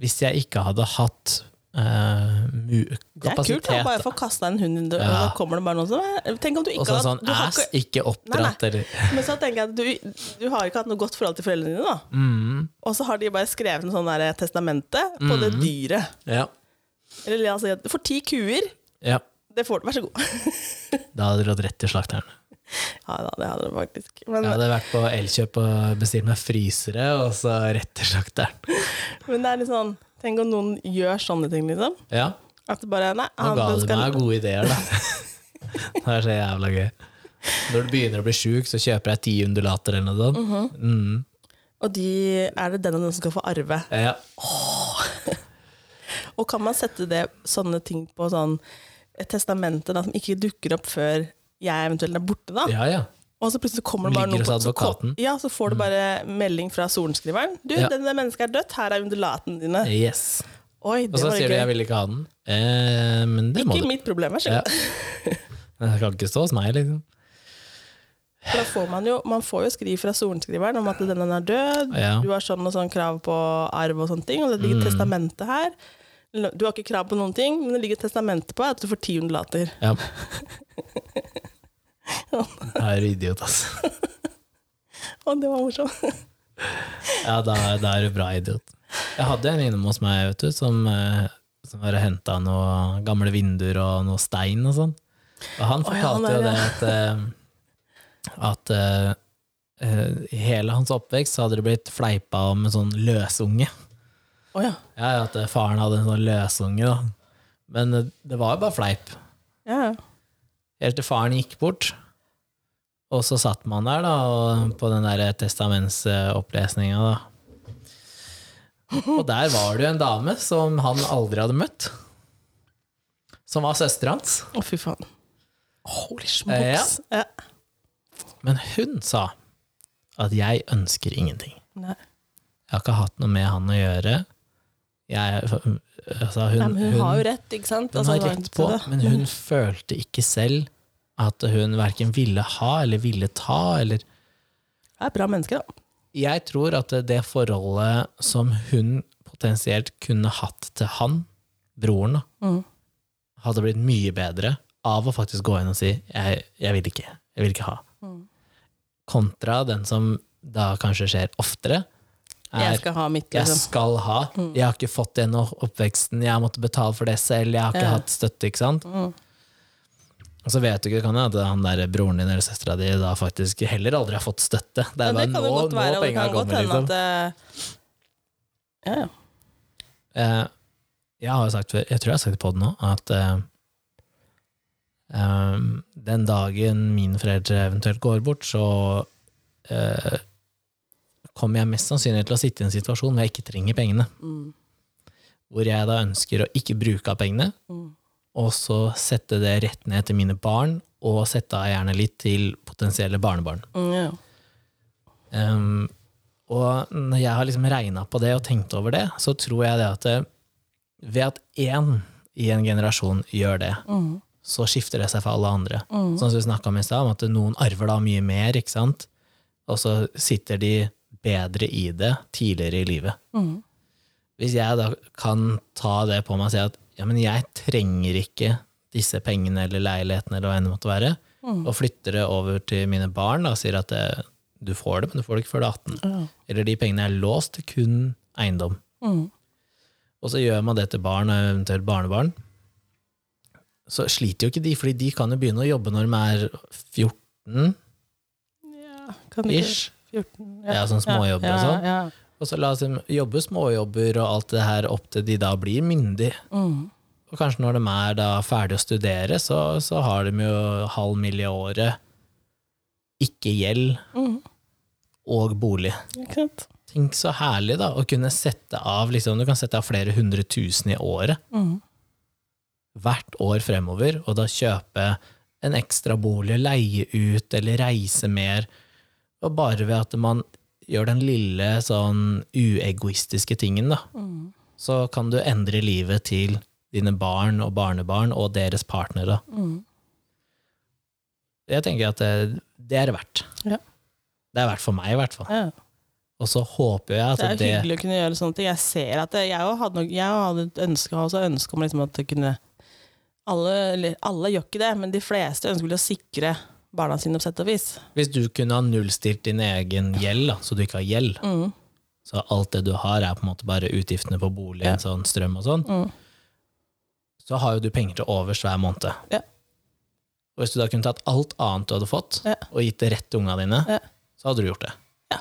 A: hvis jeg ikke hadde hatt eh, mu
B: Det er kult da, bare
A: kapasitet
B: få kasta en hund inn døra,
A: Ja.
B: og da kommer det bare noen som er- Tenk om du ikke
A: og sånn sånn
B: du har
A: ass,
B: ikke,
A: ikke oppdratt eller
B: Men så tenker jeg at du, du har ikke hatt noe godt forhold til foreldrene dine, da.
A: mm,
B: Og så har de bare skrevet noe sånn der testamente på det dyret.
A: ja,
B: Eller la oss si at du får ti kuer,
A: ja.
B: det får du, vær så god.
A: Da hadde du gått rett til slakteren.
B: Ja da, det hadde du faktisk. Men,
A: Jeg hadde vært på Elkjøp og bestilt meg frysere, og så rett til slakteren.
B: men det er litt sånn Tenk om noen gjør sånne ting, liksom.
A: Ja,
B: At det bare Nei,
A: nå
B: han
A: ga du
B: skal
A: meg gode ideer, da. Det er så jævla gøy. Når du begynner å bli sjuk, så kjøper jeg ti undulater eller noe sånt.
B: Mhm.
A: Mm,
B: Og de er det den og den som skal få arve.
A: ja.
B: Og kan man sette det, sånne ting på sånn et testamente da, som ikke dukker opp før jeg eventuelt er borte, da?
A: ja, ja.
B: Og så plutselig kommer det bare
A: Ligger hos
B: noe på- så kom-
A: advokaten. Mm.
B: Ja, så får du bare melding fra sorenskriveren. 'Du,
A: Ja.
B: det, det mennesket er dødt. Her er undulatene dine.'
A: Yes.
B: Oi,
A: Og
B: det
A: så
B: var
A: sier du
B: gøy.
A: 'jeg vil ikke ha den'. Eh, men det må
B: Ikke
A: du.
B: mitt problem, vær så
A: Ja.
B: god.
A: Den kan ikke stå hos meg, liksom.
B: For Da får man, jo, man får jo skriv fra sorenskriveren om at denne er død,
A: Ja. Mm.
B: du har sånn og sånn krav på arv og sånne ting, og det ligger testamentet her. Du har ikke krav på noen ting, men det ligger testamentet på at du får ti undulater.
A: Ja. Da er du idiot, altså.
B: Og det var morsomt.
A: Ja, da, da er du bra idiot. Jeg hadde en innom hos meg vet du, som, eh, som bare henta noen gamle vinduer og noe stein og sånn. Og han
B: Å, ja, han
A: fortalte jo
B: der,
A: det at, eh, at eh, i hele hans oppvekst så hadde det blitt fleipa om en sånn løsunge.
B: Å ja.
A: Ja, at eh, faren hadde en sånn løsunge, da. Men eh, det var jo bare fleip.
B: ja. ja.
A: Helt til faren gikk bort. Og så satt man der, da, og på den der testamentsopplesninga, da. Og der var det jo en dame som han aldri hadde møtt. Som var søstera hans.
B: Å, fy faen. Holy smokes. Ja.
A: Men hun sa at 'jeg ønsker ingenting'.
B: Nei.
A: Jeg har ikke hatt noe med han å gjøre. Jeg, altså hun,
B: Nei, men hun, har jo rett, ikke sant?
A: Hun
B: Altså,
A: har
B: det var
A: rett
B: ikke
A: på,
B: det.
A: men hun følte ikke selv at hun verken ville ha eller ville ta, eller
B: Det er et bra menneske, da.
A: Jeg tror at det forholdet som hun potensielt kunne hatt til han, broren, da,
B: Mhm.
A: hadde blitt mye bedre av å faktisk gå inn og si jeg, jeg vil ikke, jeg vil ikke ha.
B: Mm.
A: Kontra den som da kanskje skjer oftere, er
B: Jeg skal ha mitt,
A: jeg
B: liksom.
A: skal ha. Jeg har ikke fått det nå, oppveksten. Jeg har måttet betale for det selv. Jeg har ikke
B: Ja.
A: hatt støtte, ikke sant?
B: Mm.
A: Og så vet du ikke, det kan hende at han der broren din eller søstera di da faktisk heller aldri har fått støtte. Det er
B: Ja, det
A: bare
B: kan
A: nå,
B: jo godt
A: nå
B: være, og det
A: penga
B: kan godt
A: kommer,
B: hende
A: liksom.
B: at eh, Ja, ja.
A: Eh, jeg har jo sagt før, jeg tror jeg har sagt det på det nå, at eh, ehm, den dagen mine foreldre eventuelt går bort, så eh, kommer jeg mest sannsynlig til å sitte i en situasjon hvor jeg ikke trenger pengene.
B: Mm.
A: Hvor jeg da ønsker å ikke bruke av pengene,
B: Mm.
A: og så sette det rett ned til mine barn, og sette av gjerne litt til potensielle barnebarn.
B: Mm, ja.
A: Um, og når jeg har liksom regna på det og tenkt over det, så tror jeg det at eh, ved at én i en generasjon gjør det,
B: Mm.
A: så skifter det seg for alle andre. Sånn som vi snakka om i stad, om at noen arver da mye mer, ikke sant? og så sitter de bedre i det tidligere i livet.
B: Mm.
A: Hvis jeg da kan ta det på meg og si at ja, men jeg trenger ikke disse pengene eller leilighetene eller hva enn det måtte være,
B: Mm.
A: og flytter det over til mine barn da, og sier at eh, du får det, men du får det ikke før du er 18. Eller de pengene er låst til kun eiendom.
B: Mm.
A: Og så gjør man det til barn og eventuelt barnebarn. Så sliter jo ikke de, fordi de kan jo begynne å jobbe når de er 14
B: Ja, kan du ikke-
A: ish.
B: 14,
A: Ja, sånn småjobber
B: ja,
A: og sånn.
B: Ja,
A: Og så la oss dem jobbe småjobber og alt det her opp til de da blir myndige.
B: Mm.
A: Og kanskje når de er da ferdig å studere, så, så har de jo halv mill. i året, ikke gjeld
B: Mm.
A: og bolig.
B: Ikke sant?
A: Tenk så herlig da, å kunne sette av liksom, du kan sette av flere hundre tusen i året,
B: Mm.
A: hvert år fremover, og da kjøpe en ekstra bolig, leie ut eller reise mer. Og bare ved at man gjør den lille sånn uegoistiske tingen, da,
B: Mm.
A: så kan du endre livet til dine barn og barnebarn og deres partnere.
B: Mm.
A: Jeg tenker at det, det er det verdt.
B: Ja.
A: Det er verdt for meg, i hvert fall.
B: Ja.
A: Og så håper jeg at
B: Det er jo
A: Altså, det,
B: hyggelig å kunne gjøre sånne ting. Jeg ser at det, jeg også hadde, nok, jeg også hadde et ønske, har også et ønske om liksom at det kunne alle, eller, alle gjør ikke det, men de fleste ønsker vel å sikre barna sine på sett og vis.
A: Hvis du kunne ha nullstilt din egen gjeld, da, så du ikke har gjeld,
B: Mm.
A: så alt det du har er på en måte bare utgiftene på bolig,
B: Ja.
A: sånn strøm og sånn,
B: Mm.
A: så har jo du penger til overs hver måned.
B: Ja.
A: Og hvis du da kunne tatt alt annet du hadde fått,
B: Ja.
A: og gitt det rett til unga dine,
B: Ja.
A: så hadde du gjort det.
B: Ja.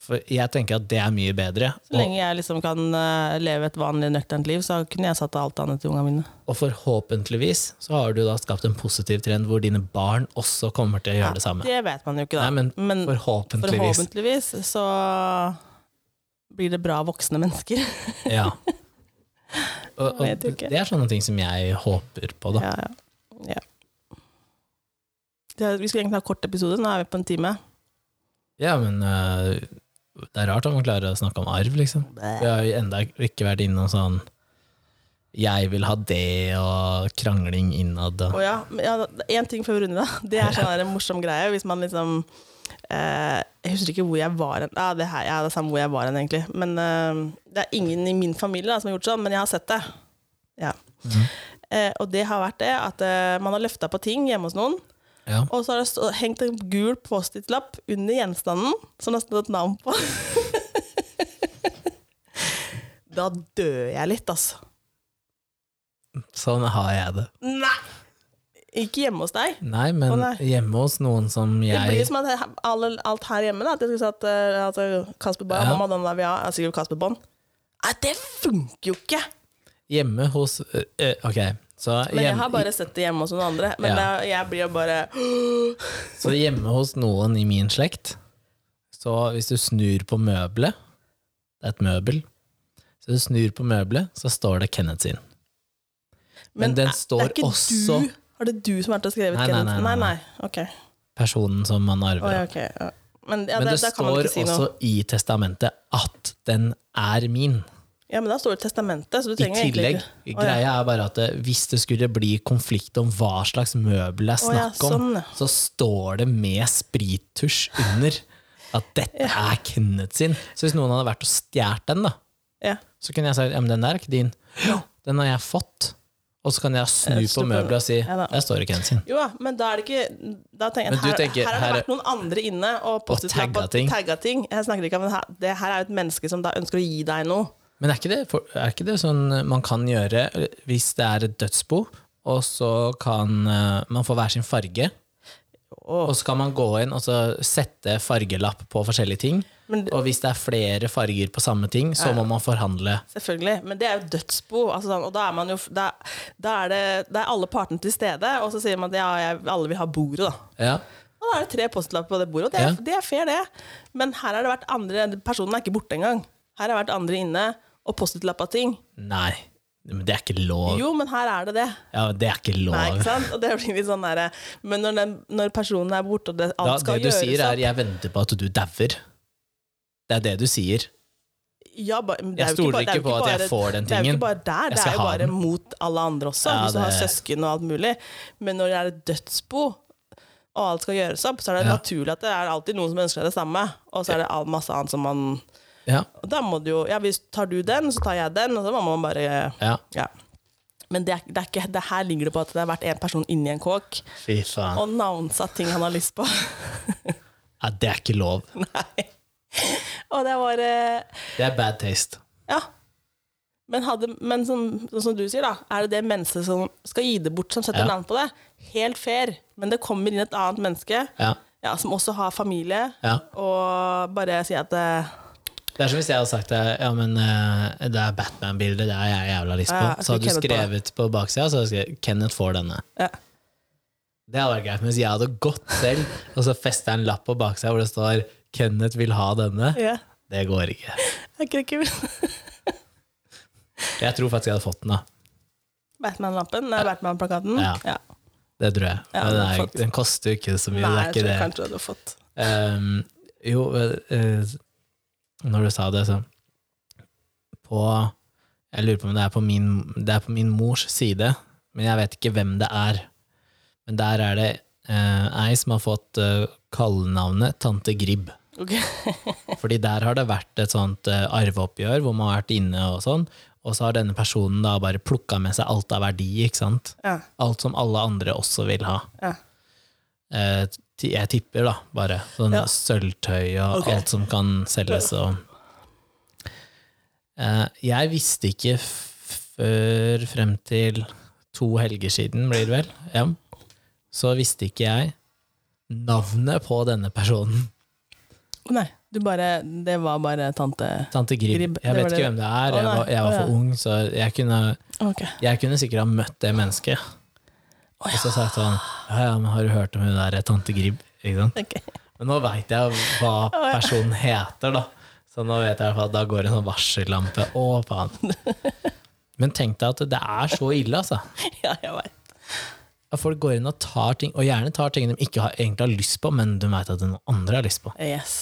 A: For jeg tenker at det er mye bedre.
B: Så lenge jeg liksom kan eh, leve et vanlig nøkternt liv, så kunne jeg satt av alt annet til ungene mine.
A: Og, og forhåpentligvis så har du da skapt en positiv trend hvor dine barn også kommer til å gjøre det samme.
B: Det vet man jo ikke, da.
A: Nei, men
B: men
A: forhåpentligvis.
B: forhåpentligvis så blir det bra voksne mennesker.
A: Ja. Og,
B: Jeg vet
A: og
B: jo ikke.
A: det er sånne ting som jeg håper på, da.
B: Ja, ja. ja. Det, vi skulle egentlig ha kort episode, nå er vi på en time.
A: Ja, men øh, det er rart om man klarer å snakke om arv, liksom. Vi har jo enda ikke vært innom sånn 'jeg vil ha det' og krangling innad. og-
B: Å ja. men ja, en ting før vi runder, da. Det er sånn her en morsom greie. Hvis man liksom eh, Jeg husker ikke hvor jeg var hen. Ja, det, her, ja, det er samme hvor jeg var hen, egentlig. Men eh, det er ingen i min familie da, som har gjort sånn, men jeg har sett det. Ja.
A: Mhm.
B: Eh, og det har vært det at eh, man har løfta på ting hjemme hos noen,
A: Ja.
B: og så har det stå, hengt en gul Post-It-lapp under gjenstanden som det har stått navn på. da dør jeg litt, altså.
A: Sånn har jeg det.
B: Nei! Ikke hjemme hos deg.
A: Nei, men
B: Å, nei.
A: hjemme hos noen som jeg
B: Det blir som at he- alle, alt her hjemme, da, at jeg skulle sagt eh, altså, Kasper Bond,
A: Ja.
B: mamma, den der vi har, altså, sikkert Kasper Bond. Nei, det funker jo ikke!
A: Hjemme hos øh, øh, Ok, så
B: Men jeg
A: hjem-
B: har bare sett det hjemme hos noen andre. Men
A: Ja.
B: det- jeg blir jo bare
A: Så hjemme hos noen i min slekt, så hvis du snur på møbelet Det er et møbel. Så du snur på møbelet, så står det Kenneth sin. Men den
B: er-
A: står
B: det er ikke
A: også-
B: du, Har det du som har vært og skrevet
A: Nei, nei,
B: Kenneth?
A: nei,
B: Nei,
A: nei,
B: nei. Ok.
A: Personen som man arver.
B: Å,
A: av.
B: ja, ok, ja. Men, ja,
A: Men
B: det,
A: det
B: da kan man
A: står
B: ikke si
A: også
B: noe.
A: i testamentet at den er min.
B: Ja, men da står det testamentet, så du
A: I
B: trenger egentlig
A: tillegg.
B: ikke Å, ja.
A: Greia er bare at eh, hvis det skulle bli konflikt om hva slags møbel det er
B: Å, ja,
A: snakk om,
B: sånn, ja.
A: så står det med sprittusj under at dette er Kenneth sin. Så hvis noen hadde vært og stjålet den, da,
B: Ja.
A: så kunne jeg sagt ja, men den der er ikke din. Den har jeg fått. Og så kan jeg snu
B: Jeg står
A: på
B: på-
A: møbelet og si
B: Ja da.
A: der står det Kenneth sin.
B: Jo da, men da er det ikke da tenker jeg,
A: Men du
B: at her,
A: tenker,
B: her har
A: her-
B: det vært noen andre inne og, Post-it-lapp
A: tagget
B: og
A: ting.
B: tagget ting. Jeg snakker ikke om det her, det her er jo et menneske som da ønsker å gi deg noe.
A: Men er ikke, det, for, er ikke det sånn man kan gjøre hvis det er et dødsbo, og så kan eh, man få hver sin farge,
B: Åh.
A: og så kan man gå inn og så sette fargelapp på forskjellige ting,
B: Men det-
A: og hvis det er flere farger på samme ting, så må man forhandle.
B: Selvfølgelig, men det er jo dødsbo. Altså sånn, og da er man jo da, da er det da er alle partene til stede, og så sier man at ja, jeg, alle vil ha bordet, da.
A: Ja.
B: Og da er det tre postlapper på det bordet, og det er,
A: Ja.
B: det er fair, det. Men her har det vært andre Personen er ikke borte engang. Her har det vært andre inne og post-it-lappa ting.
A: Nei. Men det er ikke lov.
B: Jo, men her er det det.
A: Ja, men det er ikke lov.
B: Nei, ikke sant? Og det blir litt sånn der, Men når, den, når personen er borte, og det, alt
A: Da,
B: skal
A: det du
B: gjøres
A: sier,
B: opp-
A: er 'jeg venter på at du dauer'. Det er det du sier.
B: Ja, ba- det er
A: Jeg
B: jo
A: stoler
B: bare- det er
A: ikke
B: jo
A: på at jeg
B: bare-
A: får den
B: Det er jo
A: tingen.
B: ikke bare der, det
A: skal
B: er jo
A: ha
B: bare
A: den.
B: mot alle andre også,
A: Ja,
B: hvis du har
A: det-
B: søsken og alt mulig. Men når det er et dødsbo, og alt skal gjøres opp, så er det
A: Ja.
B: naturlig at det er alltid noen som ønsker deg det samme, og så er det all masse annet som man
A: Ja,
B: Og da må du jo Ja, hvis tar du den, så tar jeg den, og så må man bare
A: ja.
B: Ja. Men det, er, det, er ikke, det her ligger det på at det har vært en person inni en kåk,
A: Fy faen.
B: og navnsatt ting han har lyst på.
A: Ja, det er ikke lov.
B: Nei. Og det var eh,
A: Det er bad taste.
B: Ja. Men, hadde, men som, sånn som du sier, da, er det det mennesket som skal gi det bort, som setter
A: Ja.
B: navn på det? Helt fair, men det kommer inn et annet menneske
A: Ja,
B: ja, som også har familie,
A: ja.
B: og bare sier at eh,
A: Det er som hvis jeg hadde sagt deg Ja, men eh, det er Batman-bildet, det er jeg jævla lyst på.
B: Ja, jeg
A: så hadde du
B: fikk Kenneth på
A: skrevet på baksida, så hadde du skrevet 'Kenneth får denne'.
B: ja.
A: Det hadde vært greit, men hvis jeg hadde gått selv, og så festa jeg en lapp på baksida hvor det står 'Kenneth vil ha denne',
B: ja.
A: det går ikke.
B: Er ikke det kult?
A: Jeg tror faktisk jeg hadde fått den, da.
B: Batman-lappen? Nei, eh, Batman-plakaten?
A: Ja. Det tror jeg.
B: Ja,
A: Men
B: du
A: den,
B: hadde
A: er,
B: fått.
A: den koster jo ikke så mye. det er
B: Nei, jeg tror
A: ikke det.
B: kanskje du hadde fått
A: Ehm, jo, eh, når du sa det, så På Jeg lurer på om det er på min, det er på min mors side, men jeg vet ikke hvem det er. Men der er det eh, ei som har fått eh, kallenavnet Tante Gribb.
B: Ok.
A: Fordi der har det vært et sånt eh, arveoppgjør hvor man har vært inne og sånn, og så har denne personen da bare plukka med seg alt av verdi, ikke sant?
B: Ja.
A: Alt som alle andre også vil ha.
B: Ja.
A: Eh, ti- jeg tipper, da, bare. Sånn
B: Ja.
A: sølvtøy og
B: Ok.
A: alt som kan selges og eh, Jeg visste ikke f- før frem til to helger siden, blir det vel, ja. så visste ikke jeg navnet på denne personen.
B: Nei, du bare Det var bare tante
A: Tante Gribb.
B: Gribb,
A: Jeg
B: det
A: vet
B: var
A: ikke
B: det.
A: hvem det er,
B: Å,
A: jeg
B: nei.
A: var, jeg var
B: Å, ja.
A: for ung, så jeg kunne,
B: Ok.
A: jeg kunne sikkert ha møtt det mennesket.
B: Å,
A: Og så sa jeg til han ja, ja, men har du hørt om hun der eh, tante Gribb? Ikke sant?
B: Ok.
A: Men nå veit jeg hva personen heter, da. Så nå vet jeg i hvert fall at da går en sånn varsellampe. Å, faen. Men tenk deg at det er så ille, altså.
B: Ja, jeg veit.
A: At folk går inn og tar ting, og gjerne tar ting de ikke har, egentlig har lyst på, men de veit at noen andre har lyst på.
B: Yes.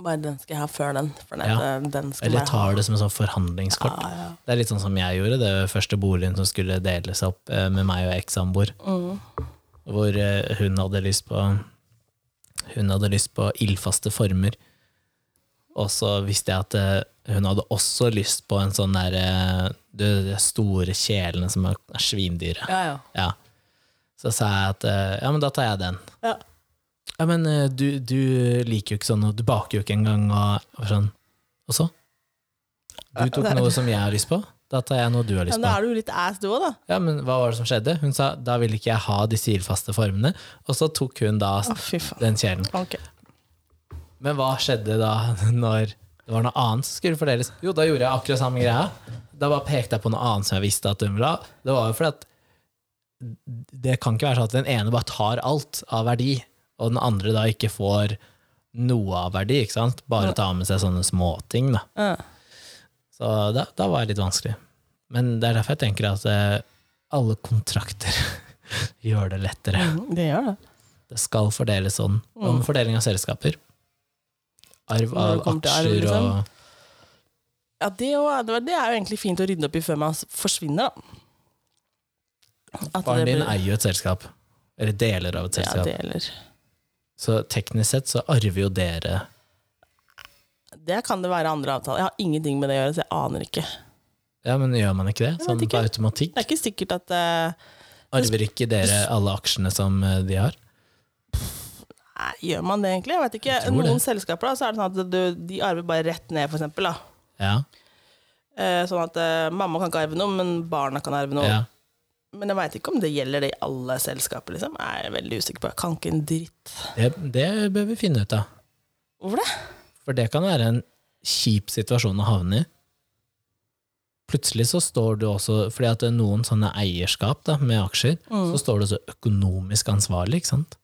B: Bare den skal jeg ha før den. For den, eh,
A: Ja.
B: den skal
A: Eller
B: jeg ha.
A: tar det som en sånn forhandlingskort.
B: Ja, ja.
A: Det er litt sånn som jeg gjorde, det første boligen som skulle deles opp eh, med meg og ekssamboer.
B: Mm.
A: Hvor eh, hun hadde lyst på Hun hadde lyst på ildfaste former. Og så visste jeg at eh, hun hadde også lyst på en sånn der eh, De de store kjelene som er er svindyre.
B: Ja, ja.
A: Ja. Så sa jeg at eh, ja, men da tar jeg den.
B: Ja.
A: Ja, men eh, du, du liker jo ikke sånn, og du baker jo ikke engang, og, og sånn. Og så? Du tok noe som jeg har lyst på, da tar jeg noe du har lyst
B: Men
A: på.
B: da er du jo litt ass, du òg, da.
A: Ja, men hva var det som skjedde? Hun sa, da vil ikke jeg ha disse ildfaste formene, og så tok hun da
B: Å, fy faen.
A: den kjelen.
B: Ok.
A: Men hva skjedde da, når det var noe annet som skulle fordeles? Jo, da gjorde jeg akkurat samme greia. Da bare pekte jeg på noe annet som jeg visste at hun ville ha. Det var jo fordi at det kan ikke være sånn at den ene bare tar alt av verdi, og den andre da ikke får noe av verdi, ikke sant? Bare ta med seg sånne småting, da.
B: Ja.
A: Så da, da var det litt vanskelig. Men det er derfor jeg tenker at eh, alle kontrakter gjør det lettere.
B: Det gjør det.
A: Det skal fordeles sånn. Om fordeling av selskaper. Arv
B: Mm. Når det
A: av
B: kommer til arv,
A: aksjer
B: liksom.
A: og
B: Ja, det, er jo- det er jo egentlig fint å rydde opp i før man s- forsvinner, da. At
A: Faren din
B: blir-
A: eier jo et selskap. Eller deler av et
B: ja,
A: selskap.
B: det gjelder.
A: Så teknisk sett så arver jo dere
B: Det kan det være andre avtaler. Jeg har ingenting med det å gjøre, så jeg aner ikke.
A: Ja, men gjør man ikke det?
B: Jeg vet
A: Sånn på
B: ikke.
A: automatikk?
B: Det er ikke sikkert at eh,
A: Arver ikke dere alle aksjene som eh, de har?
B: Nei, gjør man det egentlig? Jeg vet ikke.
A: Jeg tror det.
B: Noen selskaper da, så er det sånn at du, de arver bare rett ned, for eksempel. Da.
A: Ja.
B: Eh, sånn at eh, mamma kan ikke arve noe, men barna kan arve noe.
A: ja.
B: Men jeg veit ikke om det gjelder det i alle selskaper. liksom. Jeg er veldig usikker på. Jeg kan ikke en dritt.
A: Det, det bør vi finne ut av.
B: Hvorfor det?
A: For det kan være en kjip situasjon å havne i. Plutselig så står du også, fordi at det er noen sånne eierskap da, med aksjer,
B: Mm.
A: så står du så økonomisk ansvarlig, ikke sant?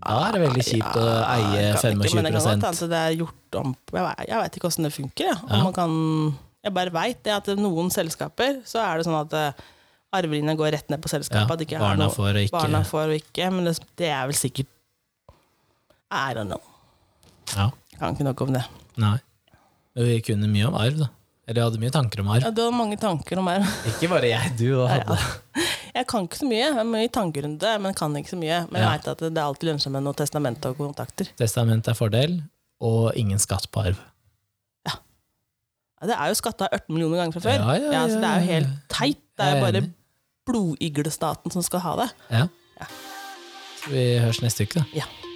A: Da er det veldig kjipt å
B: Ja,
A: eie
B: jeg kan ikke,
A: 25
B: Men det kan godt hende at det er gjort om på. Jeg veit ikke åssen det funker. Ja. Om
A: Ja.
B: man kan... Jeg Jeg bare veit det at noen selskaper så er det sånn at eh, arvelinja går rett ned på selskapet.
A: Ja,
B: at det ikke
A: barna
B: er noe,
A: får ikke-
B: barna får ikke Men det, det er vel sikkert I don't know.
A: Ja.
B: Jeg kan ikke nok om det.
A: Nei. Men vi kunne mye om arv, da. Eller jeg hadde mye tanker om arv.
B: Ja, du hadde mange tanker om her.
A: Ikke bare jeg, du og
B: Ja, ja.
A: hadde.
B: Jeg kan ikke så mye. Jeg er mye i tankerunde, men kan ikke så mye. Men jeg
A: Ja.
B: vet at det er alltid lønnsomt med noe testament og kontakter.
A: Testament er fordel, og ingen skatt på arv.
B: Ja, Det er jo skatta 18 millioner ganger fra før.
A: Ja, ja,
B: så det er jo
A: ja,
B: helt
A: ja.
B: teit. Det
A: Jeg
B: er
A: er
B: jo bare
A: enig.
B: blodiglestaten som skal ha det.
A: Ja.
B: Ja.
A: Så vi høres neste uke, da.
B: Ja.